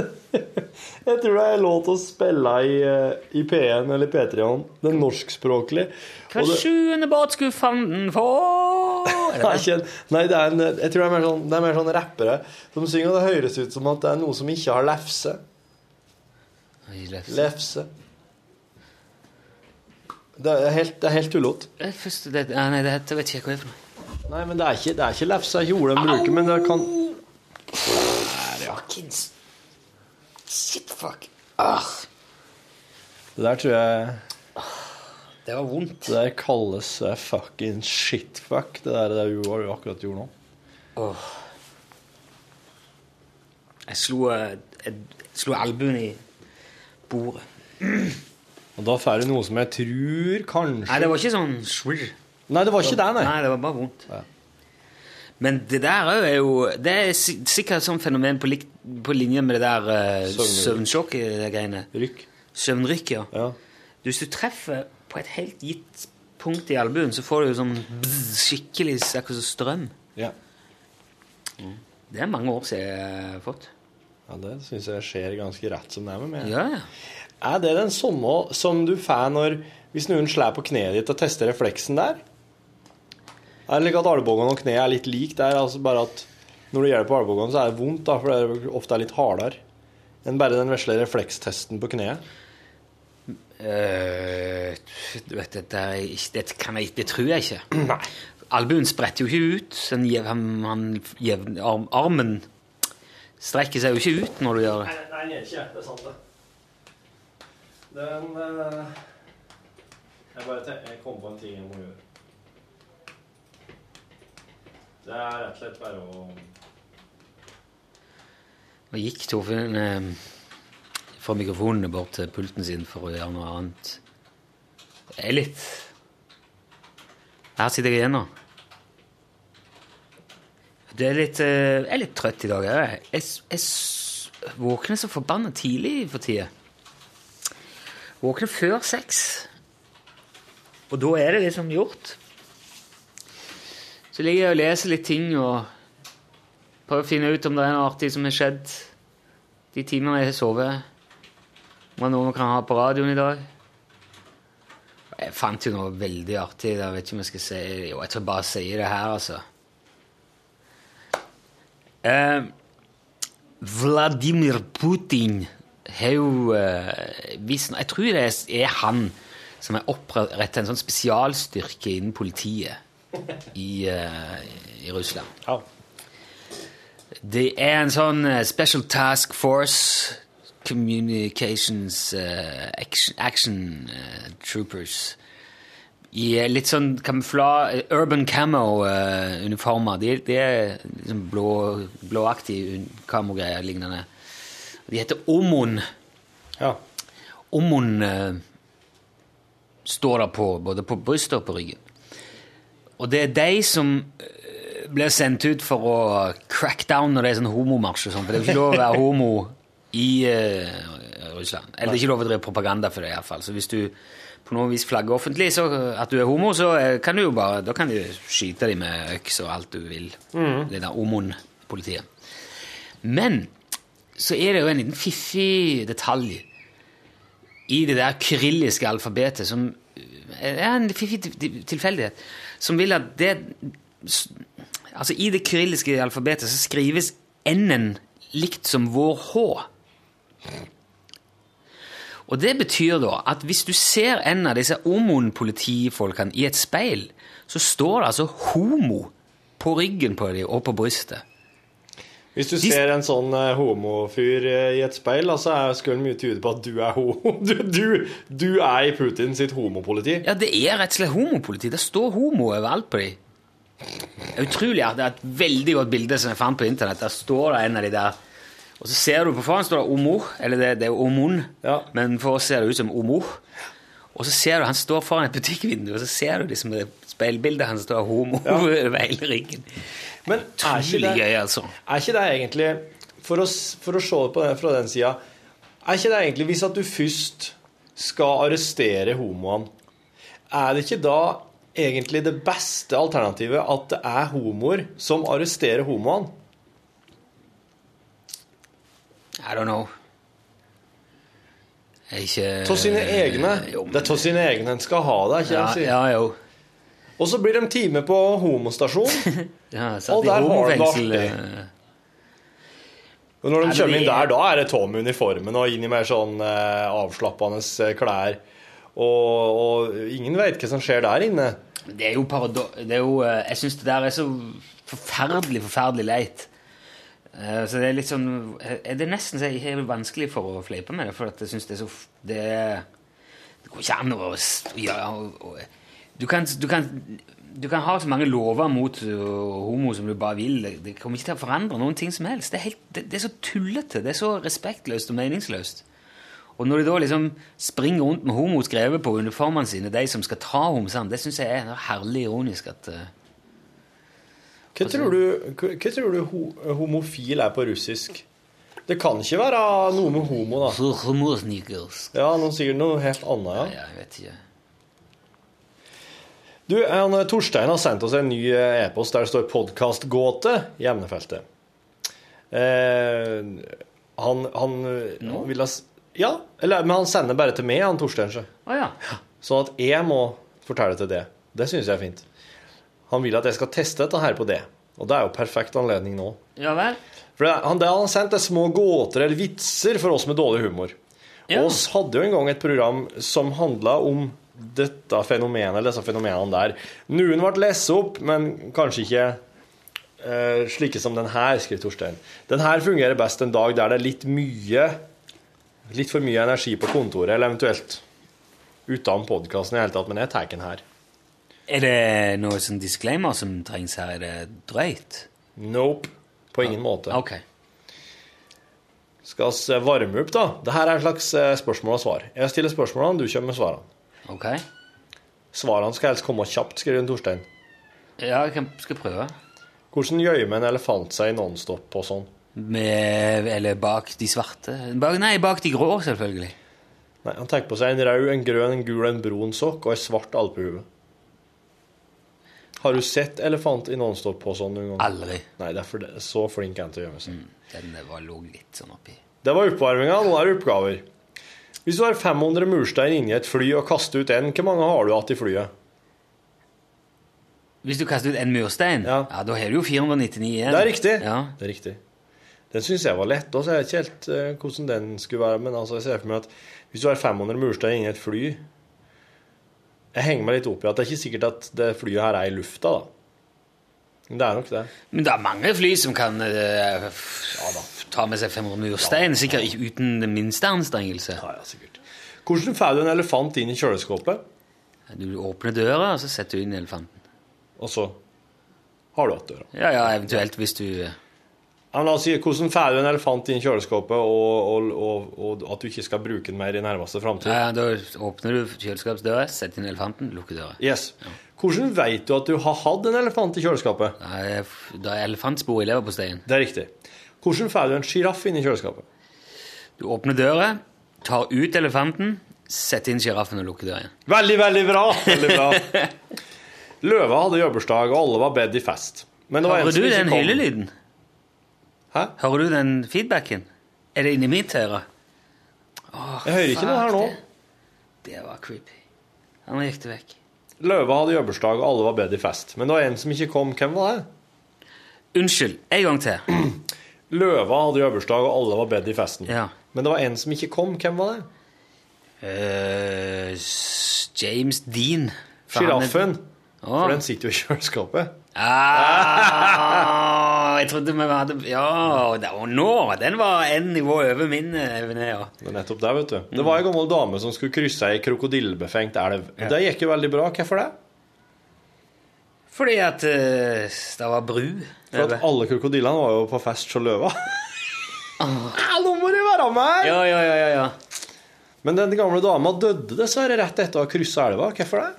[SPEAKER 4] Jeg tror det er en låt å spille i, eh, i P1 eller P3-en. Den norskspråklige.
[SPEAKER 3] Hver
[SPEAKER 4] Og det-
[SPEAKER 3] sjuende båt skulle fanden få Er det
[SPEAKER 4] Nei,
[SPEAKER 3] det?
[SPEAKER 4] ikke en- Nei, det er en, jeg tror det er mer sånn, det er mer sånn rappere som synger, og det høres ut som at det er noe som ikke har lefse.
[SPEAKER 3] Oi, lefse.
[SPEAKER 4] Lefse. Det er helt, det er helt tullete.
[SPEAKER 3] Det er første- det- ja, Nei, det heter vet ikke hva det er for noe.
[SPEAKER 4] Nei, men det er ikke, det er ikke lefse. Det er ikke ordet de bruker, men det kan
[SPEAKER 3] Fuckings Shit, fuck.
[SPEAKER 4] Det der tror jeg
[SPEAKER 3] Det var vondt.
[SPEAKER 4] Det der kalles eh, fucking shitfuck, det der det du har jo akkurat gjort nå.
[SPEAKER 3] Åh. Jeg slo, eh, jeg slo albuen i bordet.
[SPEAKER 4] Og da får du noe som jeg tror kanskje
[SPEAKER 3] Nei, det var ikke sånn swirr.
[SPEAKER 4] Nei, det var ikke det, nei.
[SPEAKER 3] Nei, det var bare vondt. Men det der òg er jo Det er si- sikkert sånn fenomen på, lik, på linje med det der eh,
[SPEAKER 4] Søvnrykk.
[SPEAKER 3] søvnsjokk-greiene.
[SPEAKER 4] Rykk.
[SPEAKER 3] Søvnrykk, ja. Du, Hvis du treffer på et helt gitt punkt i albuen, så får du jo sånn bzz, skikkelig så er det akkurat som strøm.
[SPEAKER 4] Ja.
[SPEAKER 3] Det er mange år siden jeg har fått.
[SPEAKER 4] Ja, det syns jeg skjer ganske rett som det er med meg.
[SPEAKER 3] Ja, ja.
[SPEAKER 4] Er det den samme som du får når Hvis noen slår på kneet ditt og tester refleksen der? Er det like at albuen og kneet er litt lik der, altså bare at når du gjør det på albuen, så er det vondt, da, for det er ofte er litt hardere enn bare den vesle reflekstesten på kneet?
[SPEAKER 3] Eh, du vet, dette, er ikke- dette kan jeg, det tror jeg ikke. Nei. Albuen spretter jo ikke ut. så Den jev, han, han, jev, arm, armen strekker seg jo ikke ut når du gjør det.
[SPEAKER 4] nei, den gjør ikke det. Det er sant, det. Den eh, Jeg bare jeg kom på en ting jeg må gjøre. Det er rett og slett bare å
[SPEAKER 3] Nå gikk Torfinn eh, fra mikrofonene bort til pulten sin for å gjøre noe annet. Det er litt Her sitter jeg igjen nå. Det er litt, eh, jeg er litt trøtt i dag. Jeg, jeg, jeg s- våkner så forbanna tidlig for tida. Våkner før seks. Og da er det liksom gjort. Så ligger jeg og leser litt ting og prøver å finne ut om det er noe artig som har skjedd de timene jeg har sovet. Om det er noe vi kan ha på radioen i dag. Jeg fant jo noe veldig artig. Jeg vet ikke om jeg skal si Jo, jeg tror jeg bare sier det her, altså. Eh, Vladimir Putin har jo eh, visst- Jeg tror det er han som har opprettet en sånn spesialstyrke innen politiet i, eh, i Russland. Det er en sånn eh, Special Task Force Communications eh, Action, action eh, Troopers i eh, litt sånn kamufla, eh, urban camo-uniformer. de, de er liksom blå, blåaktige un- kamogreier lignende. De heter Omon.
[SPEAKER 4] Ja.
[SPEAKER 3] Omon eh, står der på, både på brystet og på ryggen. Og det er de som eh, blir sendt ut for å crack down når det er sånn homomarsj og sånn, for det er jo ikke lov å være homo i eh, Russland. Eller det er ikke lov å drive propaganda for det i hvert fall. Så hvis du på noe vis flagger offentlig så, at du er homo, så eh, kan du jo bare, da kan du skyte dem med øks og alt du vil.
[SPEAKER 12] Mhm.
[SPEAKER 3] Det der omon-politiet. Men så er det jo en liten fiffig detalj i det der kyrilliske alfabetet som er en fiffig til- tilfeldighet, som vil at det s- Altså, i det kyrilliske alfabetet så skrives N-en likt som vår H. Og det betyr da at hvis du ser en av disse omon-politifolkene i et speil, så står det altså homo på ryggen på dem og på brystet.
[SPEAKER 4] Hvis du ser en sånn eh, homofyr eh, i et speil, da, så er- skulle det mye tyde på at du er homo. Du, du, du er i Putin sitt homopoliti.
[SPEAKER 3] Ja, det er rett og slett homopoliti. Det står homo overalt på dem. Utrolig at det er et veldig godt bilde som jeg fant på internett. Der står det en av de der. Og så ser du på foran står det Omo, eller det, det er jo Omon, men for oss ser det ut som Omo. Og så ser du han står foran et butikkvindu, og så ser du liksom det speilbildet hans står homo over hele ryggen.
[SPEAKER 4] Men er ikke
[SPEAKER 3] Utrolig
[SPEAKER 4] det-
[SPEAKER 3] gøy, altså.
[SPEAKER 4] Er ikke det egentlig For å, s- for å se det på den, fra den sida Er ikke det egentlig hvis at du først skal arrestere homoene Er det ikke da egentlig det beste alternativet at det er homoer som arresterer homoene?
[SPEAKER 3] I don't know. Jeg er ikke
[SPEAKER 4] Av sine
[SPEAKER 3] Eh,
[SPEAKER 4] egne. Det er av sine egne en skal ha det, ikke
[SPEAKER 3] Ja,
[SPEAKER 4] sant?
[SPEAKER 3] ja, jo.
[SPEAKER 4] Og så blir de time på homostasjon.
[SPEAKER 3] Ja,
[SPEAKER 4] Og
[SPEAKER 3] satt i
[SPEAKER 4] der har du det
[SPEAKER 3] homofengsel.
[SPEAKER 4] artig.
[SPEAKER 3] eh,
[SPEAKER 4] Og når
[SPEAKER 3] Nei,
[SPEAKER 4] de
[SPEAKER 3] men
[SPEAKER 4] kommer inn
[SPEAKER 3] det er-
[SPEAKER 4] der, da er det tom uniformen og inn i mer sånn eh, avslappende eh, klær. Og, og ingen veit hva som skjer der inne.
[SPEAKER 3] Det er jo parado... Det er jo, eh, jeg syns det der er så forferdelig, forferdelig leit. Eh, Så det er litt sånn eh, Det er nesten så jeg har vanskelig for å fleipe med det, for at jeg syns det er så f- det, er- det Det går ikke an å s- ja, og, og, du, kan, du, kan, du kan ha så mange lover mot ø, homo som du bare vil. Det- Det kommer ikke til å forandre noen ting som helst. Det er, helt, det, det er så tullete. Det er så respektløst og meningsløst. Og når de da liksom springer rundt med homo skrevet på uniformene sine, de som skal ta homsene, det syns jeg er herlig ironisk at eh, ø,
[SPEAKER 4] Hva tror du, hva, hva tror du ho, homofil er på russisk? Det kan ikke være noe med homo, da. Ja, noe, sikkert noe helt annet, ja.
[SPEAKER 3] jeg vet ikke.
[SPEAKER 4] Du, eh, han, Torstein har sendt oss en ny eh, e-post der det står 'podkastgåte' i emnefeltet. Eh, han han no? vil ha s- Ja, eller, men han sender bare til meg, han Torstein. Så.
[SPEAKER 3] Å ja.
[SPEAKER 4] Sånn at jeg må fortelle til det. Det syns jeg er fint. Han vil at jeg skal teste dette her på det. Og det er jo perfekt anledning nå.
[SPEAKER 3] Ja vel?
[SPEAKER 4] For det, han, det han har sendt er små gåter eller vitser for oss med dårlig humor. Og oss hadde jo en gang et program som handla om dette fenomenet, eller disse fenomenene der. Noen ble lest opp, men kanskje ikke eh, slike som den her, skriver Torstein. Den her fungerer best en dag der det er litt mye Litt for mye energi på kontoret, eller eventuelt uten podkasten i det hele tatt, men jeg tar den her.
[SPEAKER 3] Er det noe sånn disclaimer som trengs her? Er det drøyt?
[SPEAKER 4] Nope. På ingen måte.
[SPEAKER 3] Ok.
[SPEAKER 4] Skal oss eh, varme opp, da? Dette er en slags eh, spørsmål og svar. Jeg stiller spørsmålene, du kommer med svarene.
[SPEAKER 3] Ok.
[SPEAKER 4] Svarene skal helst komme kjapt, skriver Torstein.
[SPEAKER 3] Ja, jeg kan- skal prøve.
[SPEAKER 4] Hvordan gjemmer en elefant seg i nonstop og sånn?
[SPEAKER 3] Med, eller bak de svarte bak, Nei, bak de grå, selvfølgelig.
[SPEAKER 4] Nei, Han tar på seg en rød, en grønn, en gul, en brun sokk og ei svart alpehue. Har du sett elefant i nonstop på sånn noen gang?
[SPEAKER 3] Aldri.
[SPEAKER 4] Nei, derfor det er så flink er han til å gjemme seg.
[SPEAKER 3] Den der var lå litt sånn oppi.
[SPEAKER 4] Det var oppvarminga, nå er det oppgaver. Hvis du har 500 murstein inni et fly og kaster ut en, hvor mange har du hatt i flyet?
[SPEAKER 3] Hvis du kaster ut en murstein, ja. da har du jo 499 igjen.
[SPEAKER 4] Det er riktig.
[SPEAKER 3] Ja.
[SPEAKER 4] Det er riktig. Den syns jeg var lett. Og så er jeg ikke helt eh, hvordan den skulle være. Men altså, jeg ser for meg at hvis du har 500 murstein inni et fly Jeg henger meg litt opp i at det er ikke sikkert at det flyet her er i lufta, da. Men det er nok det.
[SPEAKER 3] Men det er mange fly som kan eh, f- ta med seg 500 murstein, sikkert ikke uten den minste anstrengelse.
[SPEAKER 4] Ja, ja, sikkert. Hvordan får du en elefant inn i kjøleskapet?
[SPEAKER 3] Du åpner døra, og så setter du inn elefanten.
[SPEAKER 4] Og så har du hatt døra.
[SPEAKER 3] Ja, ja, eventuelt hvis du eh,
[SPEAKER 4] Ja, men la oss si, Hvordan får du en elefant inn i kjøleskapet, og, og, og, og at du ikke skal bruke den mer i nærmeste framtid?
[SPEAKER 3] Ja, ja, Da åpner du kjøleskapsdøra, setter inn elefanten, lukker døra.
[SPEAKER 4] Yes. Hvordan veit du at du har hatt en elefant i kjøleskapet?
[SPEAKER 3] Da er f- da er elefantspor i leverposteien.
[SPEAKER 4] Det er riktig. Hvordan får du en sjiraff inn i kjøleskapet?
[SPEAKER 3] Du åpner døra, tar ut elefanten, setter inn sjiraffen og lukker døra igjen.
[SPEAKER 4] Veldig, veldig bra! Veldig bra. Løva hadde jobbursdag, og alle var bedt i fest. Men det var en
[SPEAKER 3] Hører
[SPEAKER 4] som
[SPEAKER 3] du
[SPEAKER 4] ikke
[SPEAKER 3] den
[SPEAKER 4] kom.
[SPEAKER 3] hylelyden?
[SPEAKER 4] Hæ?
[SPEAKER 3] Hører du den feedbacken? Er det inni mitt øre? Åh,
[SPEAKER 4] Jeg hører ikke
[SPEAKER 3] fuck
[SPEAKER 4] noe her nå.
[SPEAKER 3] Det. det var creepy. Ja, Nå gikk det vekk.
[SPEAKER 4] Løva hadde jobbursdag, og alle var bedt i fest. Men det var en som ikke kom. Hvem var det?
[SPEAKER 3] Unnskyld, en gang til.
[SPEAKER 4] Løva hadde jobbursdag, og alle var bedt i festen.
[SPEAKER 3] Ja.
[SPEAKER 4] Men det var en som ikke kom. Hvem var det?
[SPEAKER 3] Eh, s- James Dean. For han er-
[SPEAKER 4] Sjiraffen.
[SPEAKER 3] Åh.
[SPEAKER 4] For den sitter jo i kjøleskapet.
[SPEAKER 3] Ah, jeg trodde vi hadde Ja, det- og nå! Den var en nivå over min eh, evne. ja.
[SPEAKER 4] Det er nettopp det, vet du. Det var ei
[SPEAKER 3] Mm.
[SPEAKER 4] gammel dame som skulle krysse ei krokodillebefengt elv. Og Det gikk jo veldig bra. Hvorfor det?
[SPEAKER 3] Fordi at eh, det var bru.
[SPEAKER 4] For at alle krokodillene var jo på fest hos løva. Ah, nå må du være med! her!
[SPEAKER 3] Ja, ja, ja, ja, ja.
[SPEAKER 4] Men den gamle dama døde dessverre rett etter å ha kryssa elva. Hvorfor det?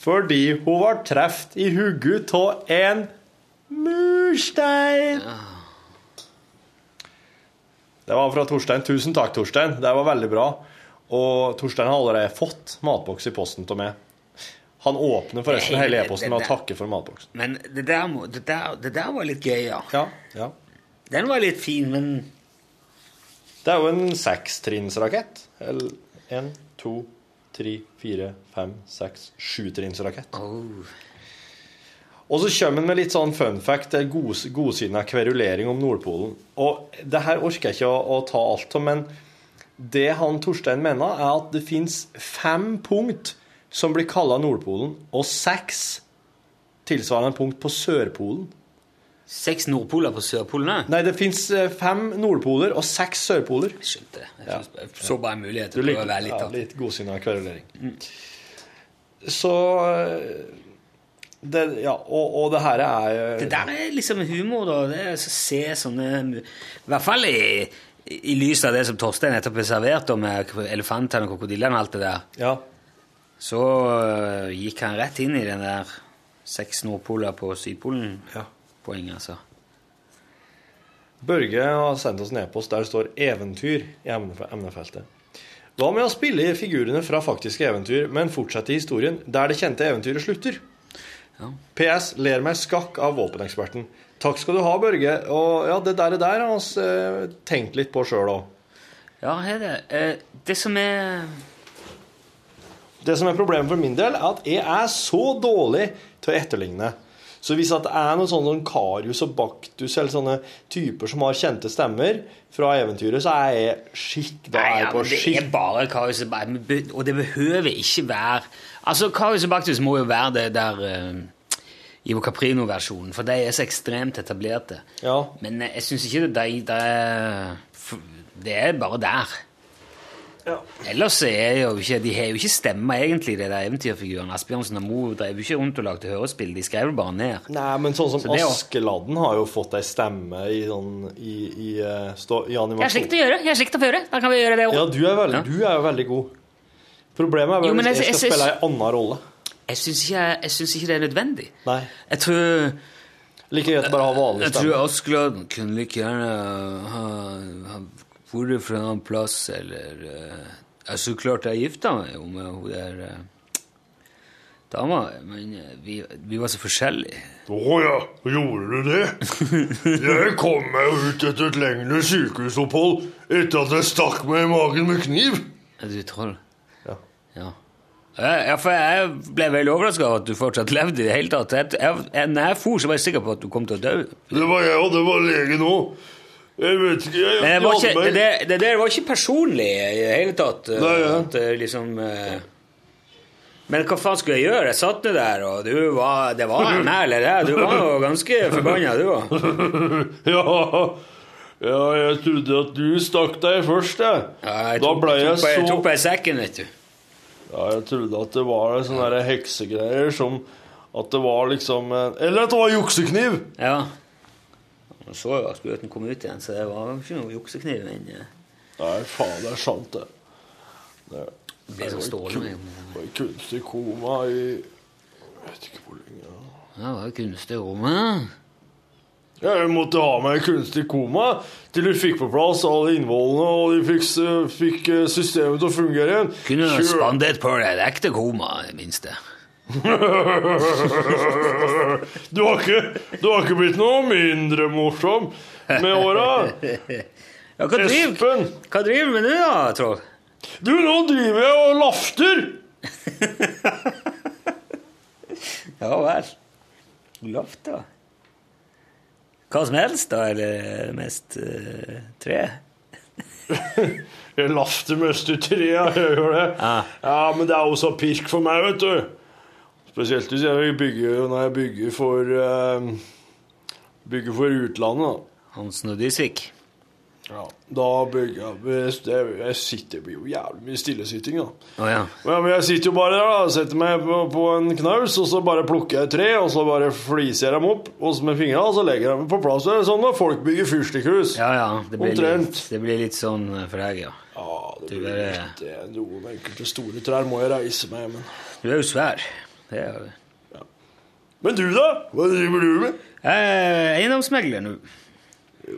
[SPEAKER 4] Fordi hun var truffet i hodet av en murstein. Det var fra Torstein. Tusen takk, Torstein. Det var veldig bra. Og Torstein har allerede fått matboks i posten av meg. Han åpner forresten
[SPEAKER 3] Nei,
[SPEAKER 4] hele
[SPEAKER 3] det-
[SPEAKER 4] e-posten
[SPEAKER 3] det-
[SPEAKER 4] med å takke for matboksen.
[SPEAKER 3] Men det der, må- det, der, det der var litt gøy, ja.
[SPEAKER 4] Ja, ja.
[SPEAKER 3] Den var litt fin, men
[SPEAKER 4] Det er jo en sekstrinnsrakett. Eller en, to, tre, fire, fem, seks, sjutrinnsrakett. Og så kommer han med litt sånn fun fact, det er god, godsinna kverulering om Nordpolen. Og det her orker jeg ikke å, å ta alt om, men det han Torstein mener, er at det fins fem punkt som blir kalla Nordpolen, og seks tilsvarende punkt på Sørpolen.
[SPEAKER 3] Seks nordpoler på Sørpolen òg?
[SPEAKER 4] Nei, det fins fem nordpoler og seks sørpoler.
[SPEAKER 3] Skjønte det. Jeg synes- jeg så bare en mulighet til
[SPEAKER 4] Du
[SPEAKER 3] å prøve å
[SPEAKER 4] liker
[SPEAKER 3] være litt
[SPEAKER 4] ja,
[SPEAKER 3] artig.
[SPEAKER 4] litt godsinna kverulering.
[SPEAKER 3] Mm.
[SPEAKER 4] Så eh, det, Ja, og, og det her er eh,
[SPEAKER 3] Det der er liksom humor, da. Det er å se sånne I hvert fall i, i lys av det som Torstein nettopp har servert, da, med elefantene og krokodillene og alt det der. Så øh, gikk han rett inn i den der seks nordpoler på Sydpolen-poenget, altså.
[SPEAKER 4] Børge har sendt oss en e-post der det står 'eventyr' i emnef- emnefeltet. Hva med å spille figurene fra faktiske eventyr, men fortsette historien der det kjente eventyret slutter? PS. Ler meg skakk av våpeneksperten. Takk skal du ha, Børge. Og ja, det der, det der har vi eh, tenkt litt på sjøl òg.
[SPEAKER 3] Ja, her er det. Eh, det som er
[SPEAKER 4] Det som er problemet for min del, er at jeg er så dårlig til å etterligne. Så hvis at det er noen sånne Karius og Baktus eller sånne typer som har kjente stemmer fra eventyret, så er jeg skikk da er
[SPEAKER 3] Nei,
[SPEAKER 4] jeg
[SPEAKER 3] ja,
[SPEAKER 4] på
[SPEAKER 3] men det
[SPEAKER 4] skikk.
[SPEAKER 3] er bare Karius og Baktus, og det behøver ikke være Altså, Karius og Baktus må jo være det der eh, Ivo Caprino-versjonen, for de er så ekstremt etablerte. Men eh, jeg syns ikke det, de, de f- Det er bare der. Ellers er jo ikke, de har jo ikke stemme, egentlig, de der eventyrfigurene. Asbjørnsen og Moe drev jo ikke rundt og lagde hørespill, de skrev det bare ned.
[SPEAKER 4] Nei, men sånn som
[SPEAKER 3] Så det er jo-
[SPEAKER 4] Askeladden har jo fått ei stemme i, sånn, i, i, eh, stå, i
[SPEAKER 3] Jeg
[SPEAKER 4] animasjon.
[SPEAKER 3] er slik til å gjøre, jeg er slik til å føre. Da kan vi gjøre det
[SPEAKER 4] Ja,
[SPEAKER 3] òg.
[SPEAKER 4] du er, veldig, du er jo veldig god. Problemet er
[SPEAKER 3] Jo,
[SPEAKER 4] bare
[SPEAKER 3] men
[SPEAKER 4] hvis
[SPEAKER 3] jeg-
[SPEAKER 4] jeg
[SPEAKER 3] jeg
[SPEAKER 4] skal
[SPEAKER 3] synes-
[SPEAKER 4] spille ei anna rolle.
[SPEAKER 3] Jeg syns ikke, jeg synes ikke det er nødvendig.
[SPEAKER 4] Nei.
[SPEAKER 3] Jeg tror
[SPEAKER 4] Like greit å bare ha vanlig
[SPEAKER 3] Jeg tror
[SPEAKER 4] stemme.
[SPEAKER 3] Askeladden kunne like gjerne ha, ha vært fra en annen plass, eller eh, Altså, klart jeg gifta meg jo med hun der eh, dama, men eh, vi, vi var så forskjellige.
[SPEAKER 13] Å ja, gjorde du det? Jeg kom meg jo ut etter et lengre sykehusopphold etter at jeg stakk meg i magen med kniv.
[SPEAKER 3] Er du troll? Ja. Ja, for jeg ble veldig overraska over at du fortsatt levde i det hele tatt. Jeg, jeg, jeg, når jeg for, så var jeg sikker på at du kom til å dø.
[SPEAKER 13] Det var jeg, og det var legen òg. Jeg vet ikke jeg,
[SPEAKER 3] Men det, var
[SPEAKER 13] jeg
[SPEAKER 3] ikke,
[SPEAKER 13] hadde
[SPEAKER 3] Eh, det,
[SPEAKER 13] meg-
[SPEAKER 3] der- det der var ikke personlig i det hele tatt. eh,
[SPEAKER 13] Nei, ja.
[SPEAKER 3] At, eh, liksom, eh, men hnå hva faen skulle jeg gjøre? Jeg satt nå der, og du var, det var en mæl i det. Du var jo ganske forbanna, du òg.
[SPEAKER 13] ja. ja, jeg trodde at du stakk deg først, jeg. da
[SPEAKER 3] tok-
[SPEAKER 13] ble jeg
[SPEAKER 3] tok på- jeg
[SPEAKER 13] så
[SPEAKER 3] tok på deg sekken, vet du.
[SPEAKER 13] Ja, jeg trodde at det var sånne der heksegreier som At det var liksom eh, Eller at det var juksekniv!
[SPEAKER 3] Ja. Jeg så jo at sprøyten kom ut igjen, så det var jo ikke noe juksekniv. Men eh,
[SPEAKER 13] Nei, faen, det er sant, det. Det
[SPEAKER 3] Det blir så stålende, jo, men-
[SPEAKER 13] Det var i kunstig koma i Jeg vet ikke hvor lenge. da.
[SPEAKER 3] det var jo kunstig i rommet.
[SPEAKER 13] Ja, jeg måtte ha meg i kunstig koma til du fikk på plass alle innvollene, og de fikk, s- fikk eh, systemet til å fungere igjen.
[SPEAKER 3] Kunne
[SPEAKER 13] Kjør.
[SPEAKER 3] spandert på deg et ekte koma, i det minste.
[SPEAKER 13] du, har ikke, du har ikke blitt noe mindre morsom med åra.
[SPEAKER 3] Ja, hva driver-
[SPEAKER 13] Espen!
[SPEAKER 3] Hva driver du med nå, da, Troll?
[SPEAKER 13] Du, nå driver jeg og lafter!
[SPEAKER 3] Ja vel. Loft, da. Hva som helst, da? Eller mest eh, tre?
[SPEAKER 13] Jeg lafter mest i treet, jeg gjør det. Ja, men det er også pirk for meg, vet du. Spesielt hvis jeg bygger, når jeg bygger for eh, Bygger for utlandet, da.
[SPEAKER 3] Hansen og Dysvik.
[SPEAKER 13] Ja, da bygger jeg Jeg, jeg sitter, det blir jo jævlig mye stillesitting, da.
[SPEAKER 3] Å ja.
[SPEAKER 13] Ja, men jeg sitter jo bare der, da. Setter meg på, på en knaus, og så bare plukker jeg et tre, og så bare fliser jeg dem opp og så med fingrene, og så legger jeg dem på plass. Det er sånn når folk bygger fyrstikkhus.
[SPEAKER 3] Ja, ja. Det blir,
[SPEAKER 13] Omtrent.
[SPEAKER 3] litt, det blir litt sånn eh, for deg, ja.
[SPEAKER 13] Ja, det
[SPEAKER 3] Du
[SPEAKER 13] blir
[SPEAKER 3] er-
[SPEAKER 13] litt det. Noen enkelte store trær må jeg reise meg, men
[SPEAKER 3] Du er jo svær. Det er jo
[SPEAKER 13] Men du, da? Hva driver du med?
[SPEAKER 3] Eh, Eiendomsmegler nå.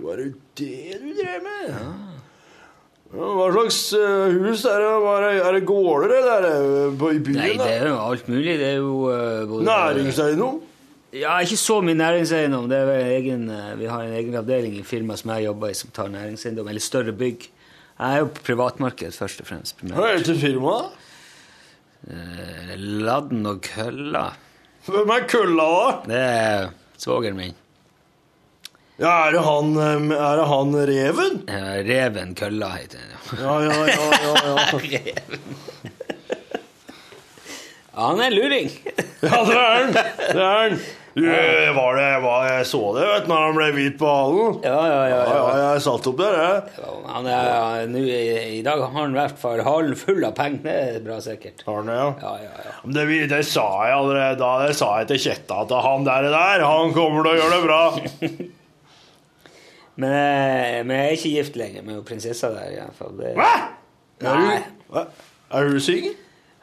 [SPEAKER 13] Var det det du drev med? Ja, Hva slags eh, hus er det? Hva Er det, er det gårder, eller er det eh, på- i byen?
[SPEAKER 3] Nei, det
[SPEAKER 13] da?
[SPEAKER 3] er jo alt mulig. Det er jo eh, både
[SPEAKER 13] Næringseiendom?
[SPEAKER 3] Ja, ikke så mye næringseiendom. Det er vel egen, eh, vi har en egen avdeling i firmaet som jeg jobber i, som tar næringseiendom, eller større bygg. Jeg er jo på privatmarked, først og fremst. primært.
[SPEAKER 13] Hva heter firmaet?
[SPEAKER 3] Eh, Ladden og kølla.
[SPEAKER 13] Hvem er kølla, da?
[SPEAKER 3] Det er svogeren min.
[SPEAKER 13] Ja, er det han, eh, er det han reven?
[SPEAKER 3] Eh, Reven Kølla heter den.
[SPEAKER 13] Ja, ja, ja. ja, ja.
[SPEAKER 3] Reven. Han er luring.
[SPEAKER 13] Ja, det er han! Det er han! Du, eh, var det, var, jeg så det, vet du, når han ble hvit på halen.
[SPEAKER 3] Ja, ja, ja.
[SPEAKER 13] ja, jeg satt opp der, jeg.
[SPEAKER 3] Han er, nå i, I dag har han i hvert fall halen full av penger. Det er bra sikkert.
[SPEAKER 13] Har han det, ja? Men Det, vi- det sa jeg allerede da. Det sa jeg til Kjetta at han der, der, han kommer til å gjøre det bra.
[SPEAKER 3] Men eh, men jeg er ikke gift lenger med hun prinsessa der. i hvert fall. Det-
[SPEAKER 13] Er hun-
[SPEAKER 3] Nei.
[SPEAKER 13] Hva? Er hun singel?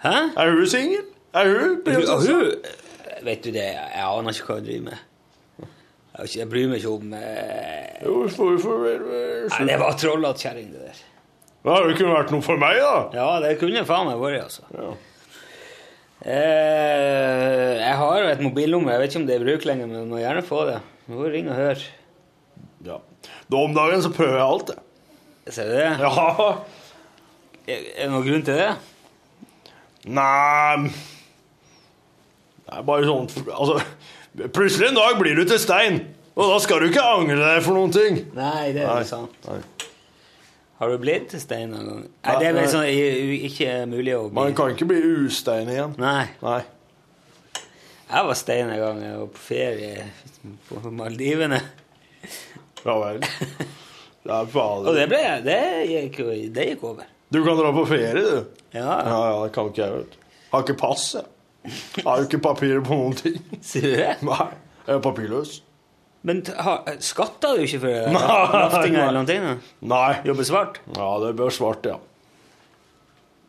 [SPEAKER 3] Hæ?
[SPEAKER 13] Er hun singel? Er hun prinsesse?
[SPEAKER 3] hun- Vet du det, jeg aner ikke hva hun driver med. Jeg, vet ikke- jeg bryr meg ikke om eh,
[SPEAKER 13] Jo, hvorfor
[SPEAKER 3] Nei, det var trollete kjerring, det der.
[SPEAKER 13] Det har jo ikke vært noe for meg, da.
[SPEAKER 3] Ja, det kunne faen meg vært, altså. Eh, jeg har jo et mobilnummer. Jeg vet ikke om det er i bruk lenger, men du må gjerne få det. Du må ringe og høre.
[SPEAKER 13] Ja. Nå om dagen så prøver jeg alt, jeg.
[SPEAKER 3] Ser du det?
[SPEAKER 13] Ja.
[SPEAKER 3] Er er det noen grunn til det?
[SPEAKER 13] Nei Det er bare sånn Altså, plutselig en dag blir du til stein. Og da skal du ikke angre deg for noen ting.
[SPEAKER 3] Nei, det er
[SPEAKER 13] Nei.
[SPEAKER 3] ikke sant. Har du blitt til stein noen gang? Nei, det er vel
[SPEAKER 13] Nei.
[SPEAKER 3] sånn i- u- ikke mulig å
[SPEAKER 13] Man
[SPEAKER 3] bli.
[SPEAKER 13] kan ikke bli ustein igjen.
[SPEAKER 3] Nei.
[SPEAKER 13] Nei.
[SPEAKER 3] Jeg var stein en gang jeg var på ferie på Maldivene.
[SPEAKER 13] Ja vel. Det er
[SPEAKER 3] Og
[SPEAKER 13] fader.
[SPEAKER 3] det ble jeg. Det gikk, jo- det gikk over.
[SPEAKER 13] Du kan dra på ferie, du.
[SPEAKER 3] Ja.
[SPEAKER 13] ja, det kan ikke jeg, vet du. Har ikke pass, jeg. Har jo ikke papirer på noen ting.
[SPEAKER 3] Sier du det?
[SPEAKER 13] Nei. Jeg er papirløs.
[SPEAKER 3] Men t- har- skatter du ikke for det?
[SPEAKER 13] Nei.
[SPEAKER 3] Laftinga eller noen ting? da?
[SPEAKER 13] Nei.
[SPEAKER 3] Jobber svart?
[SPEAKER 13] Ja, det bør svart, ja.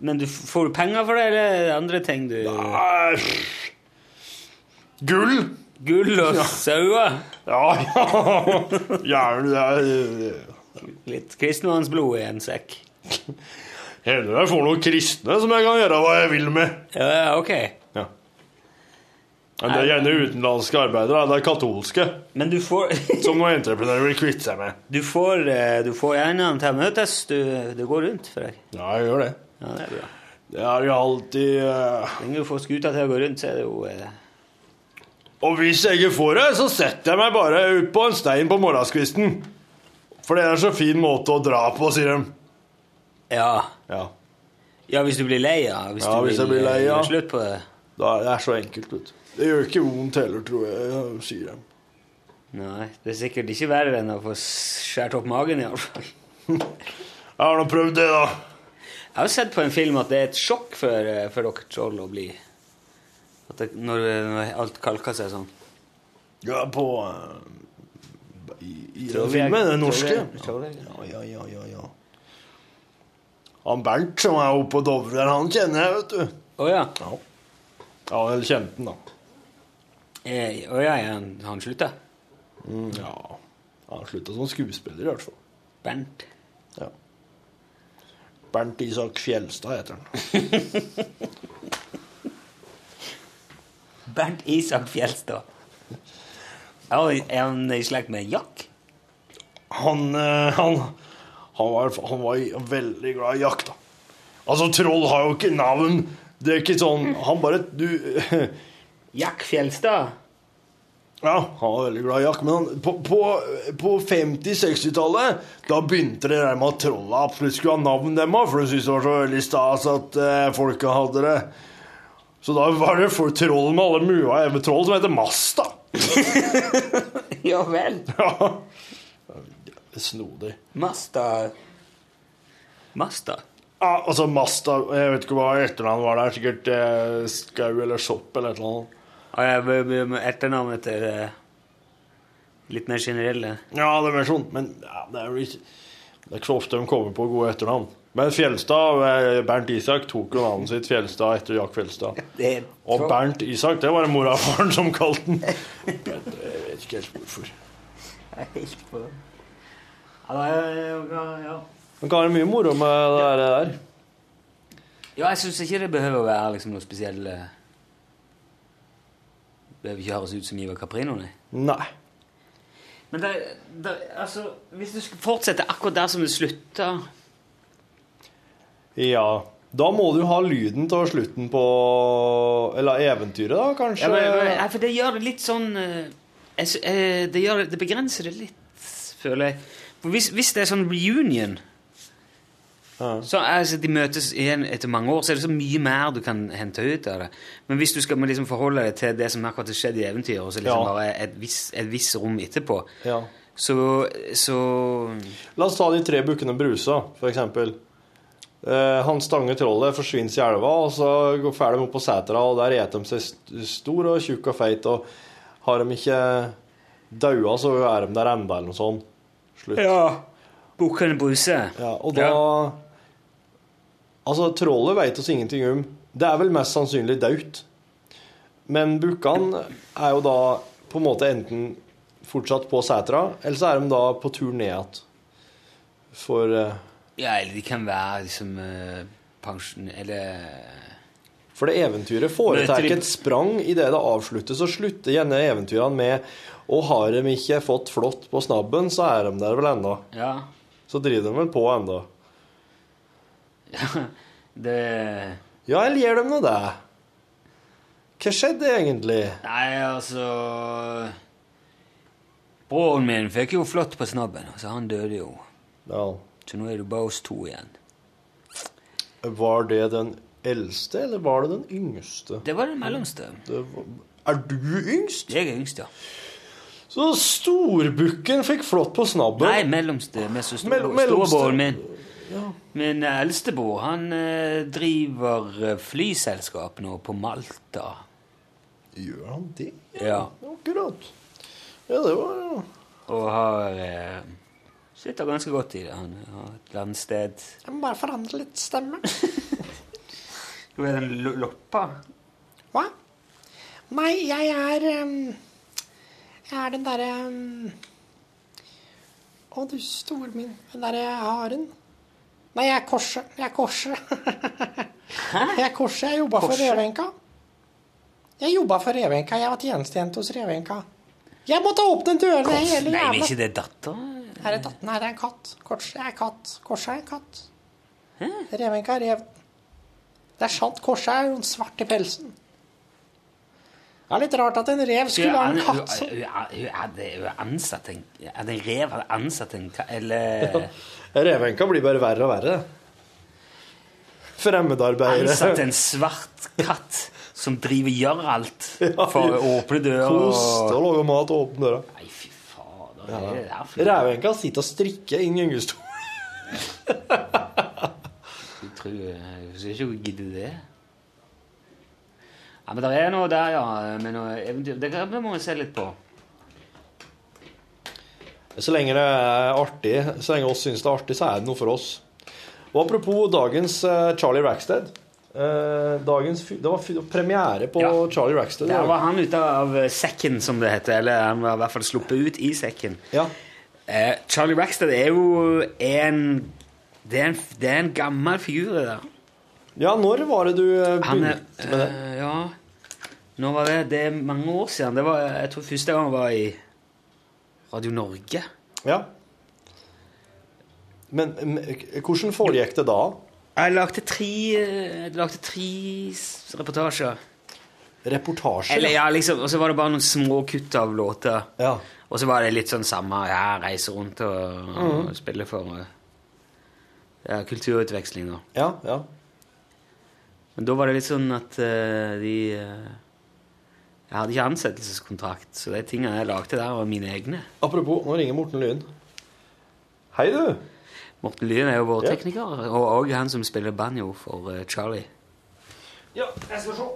[SPEAKER 3] Men du, f- får du penger for det, eller er det andre ting du
[SPEAKER 13] Æsj. Gull!
[SPEAKER 3] Gull og sauer?
[SPEAKER 13] Ja, ja. Gjerne det. er- eh,
[SPEAKER 3] Litt kristenmannsblod i en sekk.
[SPEAKER 13] Heller jeg får noen kristne som jeg kan gjøre hva jeg vil med.
[SPEAKER 3] Ja, ok.
[SPEAKER 13] Men det er gjerne utenlandske arbeidere. Det er katolske.
[SPEAKER 3] Men du får
[SPEAKER 13] Som noen entreprenører vil kvitte seg med.
[SPEAKER 3] Du får, eh, du får gjerne til å møtes. Du, det går rundt for deg.
[SPEAKER 13] Ja, jeg gjør det.
[SPEAKER 3] Ja, det er bra.
[SPEAKER 13] Det er jo alltid eh,
[SPEAKER 3] Så lenge du får skuta til å gå rundt, så er det jo eh,
[SPEAKER 13] Og hvis jeg ikke får det, så setter jeg meg bare ut på en stein på morgenskvisten. For det er en så fin måte å dra på, sier de.
[SPEAKER 3] ja.
[SPEAKER 13] ja.
[SPEAKER 3] hvis du blir lei, ja. Hvis
[SPEAKER 13] Ja,
[SPEAKER 3] du
[SPEAKER 13] hvis jeg
[SPEAKER 3] vil,
[SPEAKER 13] blir lei,
[SPEAKER 3] eh,
[SPEAKER 13] ja.
[SPEAKER 3] gjøre slutt på det.
[SPEAKER 13] Da er det er så enkelt, vet du. Det gjør ikke vondt heller, tror jeg, sier de.
[SPEAKER 3] Nei, det er sikkert ikke verre enn å få skåret opp magen, iallfall.
[SPEAKER 13] Jeg har nå prøvd det, da.
[SPEAKER 3] Jeg har sett på en film at det er et sjokk for, eh, for dere troll å bli. At det, når, når alt kalker seg sånn.
[SPEAKER 13] Ja, på eh, I, i den
[SPEAKER 3] Trolljeg-
[SPEAKER 13] filmen. Den norske.
[SPEAKER 3] trolljeg- trolljeg-
[SPEAKER 13] Ja, ja, ja, ja. Han Bernt som er oppe på Dovre der, han kjenner jeg, vet du.
[SPEAKER 3] Å ja.
[SPEAKER 13] Ja, ja eller kjente han, da.
[SPEAKER 3] Eh, Å ja, ja, han- han slutta?
[SPEAKER 13] Mm, ja. Han slutta som skuespiller, i hvert fall.
[SPEAKER 3] Bernt.
[SPEAKER 13] Ja. Bernt Isak Fjelstad heter han.
[SPEAKER 3] Bernt Isak Fjelstad. Ja, og er han i slekt med Jack?
[SPEAKER 13] Han, eh, han, han, var, han var veldig glad i jakt, da. Altså, troll har jo ikke navn. Det er ikke sånn Han bare Du
[SPEAKER 3] Jack Fjelstad?
[SPEAKER 13] Ja, han var veldig glad i jakk, men han, på, på, på 50-60-tallet da begynte det der med at trolla absolutt skulle ha navn dem òg, for de syntes det var så veldig stas at eh, folka hadde det. Så da var det for troll med alle mua hjemme troll som heter Masta.
[SPEAKER 3] Ja vel.
[SPEAKER 13] Ja. Snodig.
[SPEAKER 3] Masta Masta?
[SPEAKER 13] Ja, altså Masta Jeg vet ikke hva etternavnet var der. Sikkert eh, Skau eller Sopp eller et eller annet.
[SPEAKER 3] Og jeg vil- vil- med etternavnet til eh, litt mer generelle.
[SPEAKER 13] Ja, det er mer sånn, men ja, det er jo ikke Det er ikke så ofte de kommer på gode etternavn. Men Fjelstad, eh, Bernt Isak, tok jo navnet sitt Fjelstad etter Jack Fjelstad.
[SPEAKER 3] Det er
[SPEAKER 13] Og
[SPEAKER 3] troll.
[SPEAKER 13] Bernt Isak, det var det mora og faren som kalte den. Men Jeg vet ikke helt hvorfor.
[SPEAKER 3] Jeg er helt på den. Ja, det er- ja.
[SPEAKER 13] Man kan være mye moro med det der.
[SPEAKER 3] ja, jeg syns ikke det behøver å være liksom, noe spesiell eh, Behøver ikke høres ut som Ivar Caprino, nei.
[SPEAKER 13] Nei.
[SPEAKER 3] Men det, det, altså, hvis du skulle fortsette akkurat der som du slutta
[SPEAKER 13] Ja. Da må du ha lyden til slutten på Eller eventyret, da, kanskje?
[SPEAKER 3] Ja, men, men, nei, eh, for det gjør det litt sånn eh, jeg, sy- eh, det, gjør, det- det begrenser det litt, føler jeg. For hvis, hvis det er sånn reunion Så altså, De møtes igjen etter mange år, så er det så mye mer du kan hente ut av det. Men hvis du skal må liksom forholde deg til det som akkurat har skjedd i eventyret, og så liksom
[SPEAKER 4] Ja.
[SPEAKER 3] bare et visst et viss rom etterpå,
[SPEAKER 4] Ja.
[SPEAKER 3] så, så
[SPEAKER 4] La oss ta de tre bukkene Brusa, for eksempel. Eh, han stange trollet, forsvinner i elva, og så går fer de opp på setra, og der eter de seg st- stor og tjukk og feit, og har de ikke daua, så er de der enda, eller noe sånt. Slutt.
[SPEAKER 3] Ja. Bukkene Bruse.
[SPEAKER 4] Ja, og da Altså, trollet veit oss ingenting om. Det er vel mest sannsynlig daut. Men bukkene er jo da på en måte enten fortsatt på setra, eller så er de da på tur ned igjen. For eh,
[SPEAKER 3] Ja, eller de kan være liksom eh, pensjon... Eller
[SPEAKER 4] For det eventyret foretar
[SPEAKER 3] Møter i-
[SPEAKER 4] et sprang idet det avsluttes, og slutter gjerne eventyrene med Og har de ikke fått flått på snabben, så er de der vel enda.
[SPEAKER 3] Ja.
[SPEAKER 4] Så driver de vel på enda.
[SPEAKER 3] Det
[SPEAKER 4] Ja, eller gjør de nå det? Hva skjedde egentlig?
[SPEAKER 3] Nei, altså Broren min fikk jo flått på snabben, så han døde jo. Så nå er det bare oss to igjen.
[SPEAKER 4] Var det den eldste, eller var det den yngste?
[SPEAKER 3] Det var den mellomste.
[SPEAKER 4] Det var... Er du yngst?
[SPEAKER 3] Jeg er yngst, ja.
[SPEAKER 4] Så storbukken fikk flått på snabben?
[SPEAKER 3] Nei, mellomste. Mest stor-
[SPEAKER 4] Mell- mellomste.
[SPEAKER 3] Storebroren min. Min eldstebror han eh, driver eh, flyselskap nå på Malta.
[SPEAKER 4] Gjør han det?
[SPEAKER 3] Ja.
[SPEAKER 4] Akkurat. Ja, det var ja.
[SPEAKER 3] Og har eh, sitter ganske godt i det. Han har et eller annet sted
[SPEAKER 4] Jeg må bare forandre litt stemme.
[SPEAKER 3] Skal vi ha den lo- loppa?
[SPEAKER 14] Hva? Nei, jeg er ehm, Jeg er den derre ehm, Å, du store min. Den derre haren. Nei, jeg er korset. Jeg er korset. Jeg er korset. Jeg jobba for
[SPEAKER 15] Korset?
[SPEAKER 14] Revenka. Jeg jobba for Revenka. Jeg var tjenestejente hos Revenka. Jeg måtte åpne dørene
[SPEAKER 3] Kors.
[SPEAKER 14] hele
[SPEAKER 3] Nei, men
[SPEAKER 14] jævla
[SPEAKER 3] ikke det datteren?
[SPEAKER 14] Er det datt? Nei, det er en katt. Korset er katt. Korset er en katt. Revenka er rev. Det er sant, korset er jo en svart i pelsen. Det er litt rart at en rev skulle ha en katt som
[SPEAKER 3] Hun hadde ansatt en Hadde en rev hadde ansatt en katt Eller
[SPEAKER 4] Revenka blir bare verre og verre.
[SPEAKER 3] ansatt
[SPEAKER 4] Fremmedarbeidere.
[SPEAKER 3] en svart katt som driver gjør alt for å åpne dører
[SPEAKER 4] Kost og
[SPEAKER 3] og
[SPEAKER 4] lage mat og åpne døra.
[SPEAKER 3] Nei, fy fader.
[SPEAKER 4] Ja.
[SPEAKER 3] hva er det der for noe?
[SPEAKER 4] Revenka sitter og strikker inn gyngestol.
[SPEAKER 3] Jeg tror jeg skal ikke gidde det. Ja, men det er noe der, ja. Med noe eventyr. Det kan- det må vi se litt på.
[SPEAKER 4] Så lenge det er artig, så lenge oss syns det er artig, så er det noe for oss. Og apropos dagens eh, Charlie Rackstead. Eh, dagens, fy- det var fy- premiere på Charlie Rackstead.
[SPEAKER 3] Der var han ute av eh, sekken, som det heter. Eller han var i hvert fall sluppet ut i sekken. Eh, Charlie Rackstead er jo en det er en, det er en gammel figur, det der.
[SPEAKER 4] Ja, når var det du eh,
[SPEAKER 3] Han er,
[SPEAKER 4] begynte med det?
[SPEAKER 3] eh, ja, nå var det, det er mange år siden. Det var, jeg tror første gang han var i Radio Norge.
[SPEAKER 4] Ja. Men men, hvordan foregikk det da?
[SPEAKER 3] Jeg lagde tre, eh, jeg lagde tre s- reportasjer.
[SPEAKER 4] Reportasje?
[SPEAKER 3] Eller, ja, liksom, og så var det bare noen små kutt av låter. Og så var det litt sånn samme ja, reise rundt og, og
[SPEAKER 4] Mhm.
[SPEAKER 3] spille for eh, ja, kulturutveksling, da.
[SPEAKER 4] Ja, ja.
[SPEAKER 3] Men da var det litt sånn at eh, de eh, Jeg hadde ikke ansettelseskontrakt, så de tingene jeg lagde der, var mine egne.
[SPEAKER 4] Apropos, nå ringer Morten Lyen. Hei, du.
[SPEAKER 3] Morten Lyen er jo vår
[SPEAKER 4] Ja.
[SPEAKER 3] tekniker, og òg han som spiller banjo for eh, Charlie.
[SPEAKER 4] Ja, jeg skal se.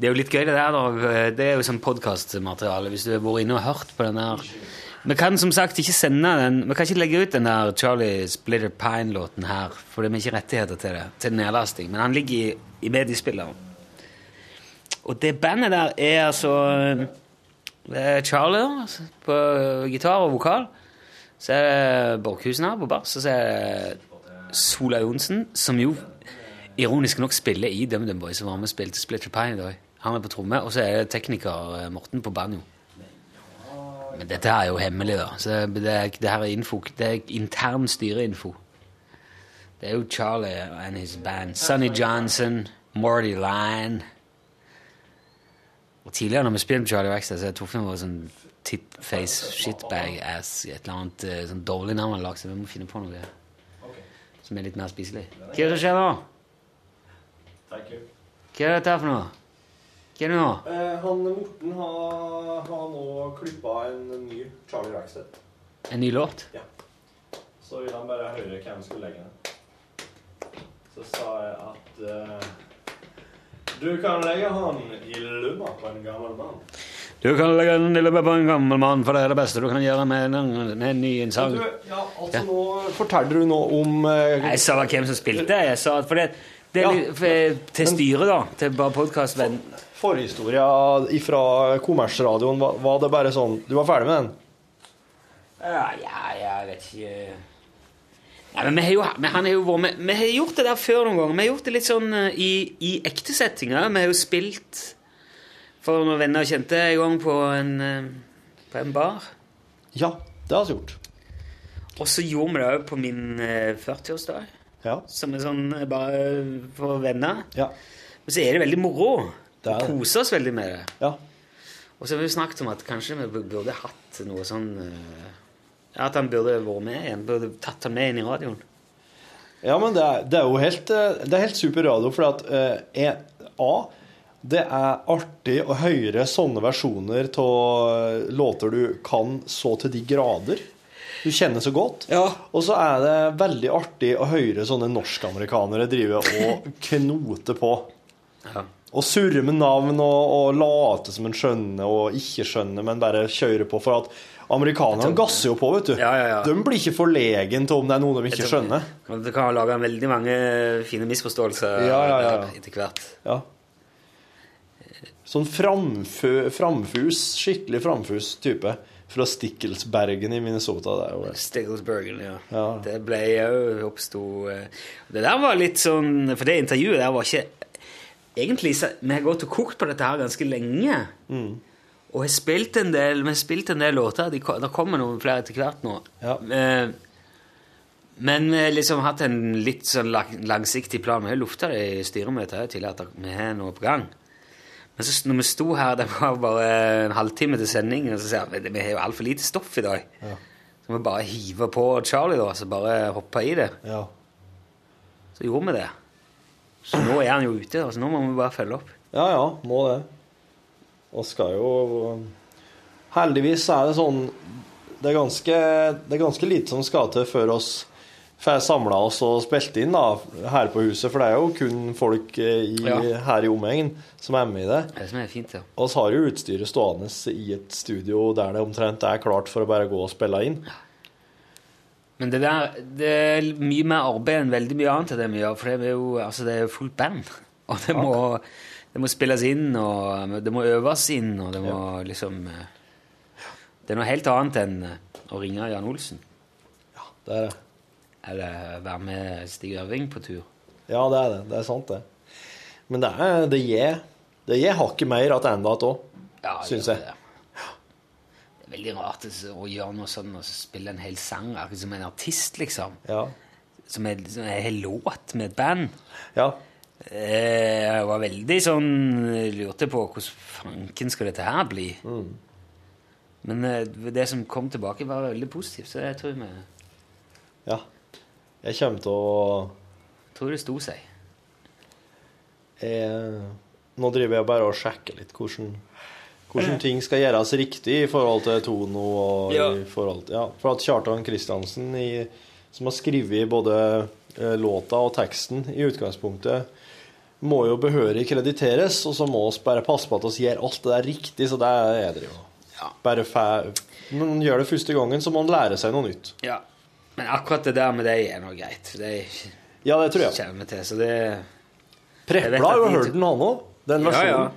[SPEAKER 3] Det er jo litt gøy, det der. da. Det er jo sånn podkastmateriale, hvis du har vært inne og hørt på den der. Vi kan som sagt ikke sende den Vi kan ikke legge ut den der Charlie Splitter Pine-låten her, for vi har ikke rettigheter til det, til nedlasting. Men han ligger i, i mediespilleren. Og det bandet der er altså eh, Charlie da, altså, på gitar og vokal. Så er det Borchhusen her på bass, og så er det Sola Johnsen, som jo ironisk nok spiller i DumDum Boys, som var med og spilte Splitter Pine i dag. Han er på tromme, og så er det tekniker eh, Morten på banjo. Men dette her er jo hemmelig, da. Så det, det, er- det her er info. Det er intern styreinfo. Det er jo Charlie and his band. Sonny Johnson, Morty Lyon Og tidligere når vi spilte med Charlie Waxter, så jeg tok med meg sånn tit-face shitbag-ass i et eller annet eh, sånn dårlig navn han lagde, så vi må finne på noe. Så som er litt mer spiselig. Hva er det som skjer nå? Hva er dette her for noe? Hva er det nå?
[SPEAKER 4] Eh, han Morten har, har nå klippa en ny Charlie Rackstedt.
[SPEAKER 3] En ny låt?
[SPEAKER 4] Så ville han bare høre hvem som skulle legge den. Så sa jeg at eh, Du kan legge han i lomma på en gammel mann.
[SPEAKER 3] Du kan legge en lille på en gammel mann, for det er det beste du kan gjøre med en, ny sang.
[SPEAKER 4] Du, ja, altså nå forteller du noe om eh,
[SPEAKER 3] Jeg sa hva hvem som spilte. Jeg sa at for det, det er litt- for, Til styret, da. Til bare podkastvenn.
[SPEAKER 4] Forhistoria fra kommersradioen, var, var det bare sånn Du var ferdig med den?
[SPEAKER 3] Ja, Ah, ja, jeg vet ikke Nei, men vi har jo, men han har jo vært med, vi har gjort det der før noen ganger. Vi har gjort det litt sånn eh, i, i ekte settinger. Vi har jo spilt for noen venner og kjente en gang på en, eh, på en bar.
[SPEAKER 4] Ja, det har vi gjort.
[SPEAKER 3] Og så gjorde vi det òg på min eh, 40-årsdag. Som er sånn eh, bare for venner. Men så er det veldig moro. Vi koser oss veldig med det. Og så har vi jo snakket om at kanskje vi burde hatt noe sånn eh, ja, At han burde vært med igjen. Burde tatt ham med inn i radioen.
[SPEAKER 4] Ja, men det er, det er jo helt, eh, det er helt super radio, for at eh, en- A, det er artig å høre sånne versjoner av eh, låter du kan så til de grader. Du kjenner så godt. Og så er det veldig artig å høre sånne norskamerikanere drive og knote på. Og surre med navn og, og late som en skjønner og ikke skjønner, men bare kjøre på. For at amerikanerne gasser jo på, vet du. De blir ikke forlegen til om det er noe de ikke
[SPEAKER 3] Jeg tror-
[SPEAKER 4] skjønner.
[SPEAKER 3] Men Du kan lage veldig mange fine misforståelser
[SPEAKER 4] Ja, ja, ja, ja.
[SPEAKER 3] etter hvert.
[SPEAKER 4] Ja. Sånn framfø, framfus, skikkelig framfus type fra Stikkelsbergen i Minnesota. Det er jo det.
[SPEAKER 3] Stigglesbergen, ja. Det ble jo oppsto eh, Det der var litt sånn For det intervjuet der var ikke Egentlig så Vi har gått og kokt på dette her ganske lenge. Og har spilt en del, vi har spilt en del låter. Det ko- der kommer noen flere etter hvert nå. Eh, Men vi har liksom hatt en litt sånn lang- langsiktig plan. Vi har lufta det i styremøtet her tidligere at vi har noe på gang. Men så s- når vi sto her, det var bare en halvtime til sending, og så sier jeg vi har jo altfor lite stoff i dag. Så vi bare hiver på Charlie, da, så bare hopper i det. Så gjorde vi det. Så nå er han jo ute, da, så nå må vi bare følge opp.
[SPEAKER 4] Ja ja, må det. Og skal jo Heldigvis er det sånn Det er ganske, det er ganske lite som skal til før oss får samla oss og spilt inn da, her på huset, for det er jo kun folk eh, i,
[SPEAKER 3] Ja.
[SPEAKER 4] her i omegn som er med i det.
[SPEAKER 3] Det er det som er fint, ja.
[SPEAKER 4] Vi har jo utstyret stående i et studio der det omtrent er klart for å bare gå og spille inn.
[SPEAKER 3] Men det der det er mye mer arbeid enn veldig mye annet av det vi gjør, for det er jo altså det er jo fullt band. Og det må, det må spilles inn, og det må øves inn, og det må liksom eh, Det er noe helt annet enn eh, å ringe Jan Olsen. Ja,
[SPEAKER 4] det er det.
[SPEAKER 3] Eller være med Stig Ørving på tur.
[SPEAKER 4] Ja, det er det. Det er sant, det. Men det er det gir Det gir hakket mer at enda at òg,
[SPEAKER 3] Ja, det
[SPEAKER 4] syns
[SPEAKER 3] gjør
[SPEAKER 4] jeg.
[SPEAKER 3] Det er veldig rart altså, å gjøre noe sånn og så spille en hel sang, akkurat som en artist, liksom. Som er som er en hel låt med et band. Eh, Jeg var veldig sånn Lurte på hvordan fanken skal dette her bli.
[SPEAKER 4] Mm.
[SPEAKER 3] Men eh, det som kom tilbake, var veldig positivt, så jeg tror vi
[SPEAKER 4] Ja. Jeg kommer til å
[SPEAKER 3] tror det sto seg.
[SPEAKER 4] jeg, Eh, Nå driver jeg bare og sjekker litt hvordan, hvordan ting skal gjøres riktig i forhold til Tono og
[SPEAKER 3] Eh. Ja.
[SPEAKER 4] i forhold til Ja. For at Kjartan Kristiansen, i, som har skrevet både eh, låta og teksten i utgangspunktet, må jo behørig krediteres, og så må vi bare passe på at vi gjør alt det der riktig, så det er jeg driver med. Bare fæ... Når man gjør det første gangen, så må man lære seg noe nytt.
[SPEAKER 3] Ja. Men akkurat det der med deg er nå greit. for Det
[SPEAKER 4] Ja, det tror jeg.
[SPEAKER 3] kjenner vi til, så det Jeg vet
[SPEAKER 4] Prepla har jo
[SPEAKER 3] at de-
[SPEAKER 4] hørt den, han òg. Den
[SPEAKER 3] Ja, ja.
[SPEAKER 4] versjonen.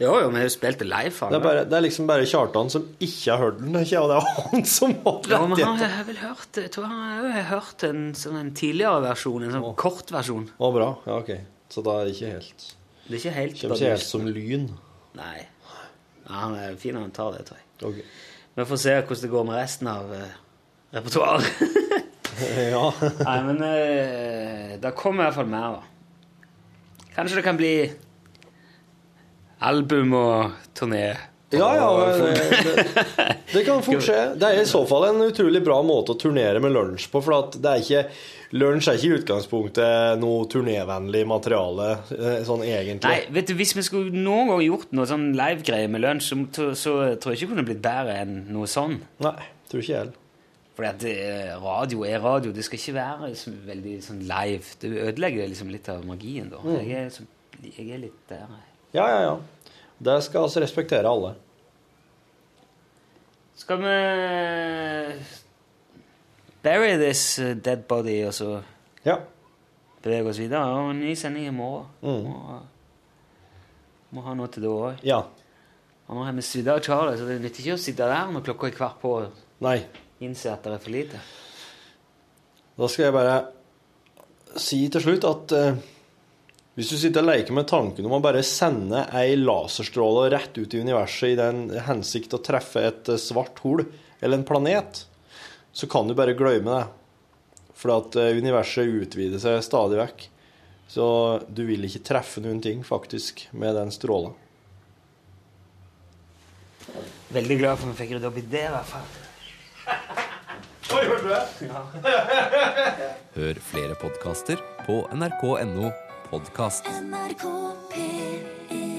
[SPEAKER 3] Jo, jo, vi har jo spilt det live. faen.
[SPEAKER 4] Det, er bare, det er liksom bare Kjartan som ikke har hørt den, ikke? og det er han som har
[SPEAKER 3] Ja, men han har
[SPEAKER 4] rettigheter.
[SPEAKER 3] jeg vel hørt Jeg tror han har jo hørt en, sånn en tidligere versjon, en sånn kort versjon.
[SPEAKER 4] Å, bra. Ja, ok. Så da er det ikke helt
[SPEAKER 3] Det er ikke helt
[SPEAKER 4] Kommer ikke helt som lyn.
[SPEAKER 3] Nei. Ja, han er fin, han tar det, tror jeg.
[SPEAKER 4] Ok.
[SPEAKER 3] Vi får se hvordan det går med resten av uh, repertoaret.
[SPEAKER 4] ja.
[SPEAKER 3] Nei, men eh, det kommer i hvert fall mer, da. Kanskje det kan bli album og turné.
[SPEAKER 4] Ja, ja, men det, det, det kan fort skje. Det er i så fall en utrolig bra måte å turnere med lunsj på. For at det er ikke Lunsj er ikke i utgangspunktet noe turnévennlig materiale, eh, sånn egentlig.
[SPEAKER 3] Nei, vet du, hvis vi skulle noen gang gjort noe sånn live-greie med lunsj, så, t- så tror jeg ikke det kunne blitt bedre enn noe sånn.
[SPEAKER 4] Nei, tror ikke jeg heller.
[SPEAKER 3] Fordi at eh, radio er radio. Det skal ikke være så veldig sånn live. Det ødelegger liksom litt av magien, da.
[SPEAKER 4] Mm.
[SPEAKER 3] Jeg, er, så, jeg er litt der. jeg.
[SPEAKER 4] Ja, ja, ja. Det skal altså respektere alle.
[SPEAKER 3] Skal vi bury this eh, dead body, og så
[SPEAKER 4] ja.
[SPEAKER 3] bevege oss videre? Og en ny sending i morgen.
[SPEAKER 4] Mm.
[SPEAKER 3] Må, må ha noe til det òg.
[SPEAKER 4] Ja.
[SPEAKER 3] Og nå har vi svidd av Charlie, så det nytter ikke å sitte der når klokka er kvart på og
[SPEAKER 4] Nei.
[SPEAKER 3] innse at det er for lite.
[SPEAKER 4] Da skal jeg bare si til slutt at eh, hvis du sitter og leker med tanken om å bare sende ei laserstråle rett ut i universet i den hensikt å treffe et eh, svart hull eller en planet, så kan du bare glemme det. For at eh, universet utvider seg stadig vekk. Så du vil ikke treffe noen ting, faktisk, med den stråla.
[SPEAKER 3] Veldig glad for at vi fikk rydda opp i det, i hvert fall.
[SPEAKER 16] Oi, hørte du det?
[SPEAKER 13] Hør flere podkaster på nrk.no podkast.
[SPEAKER 15] NRK P1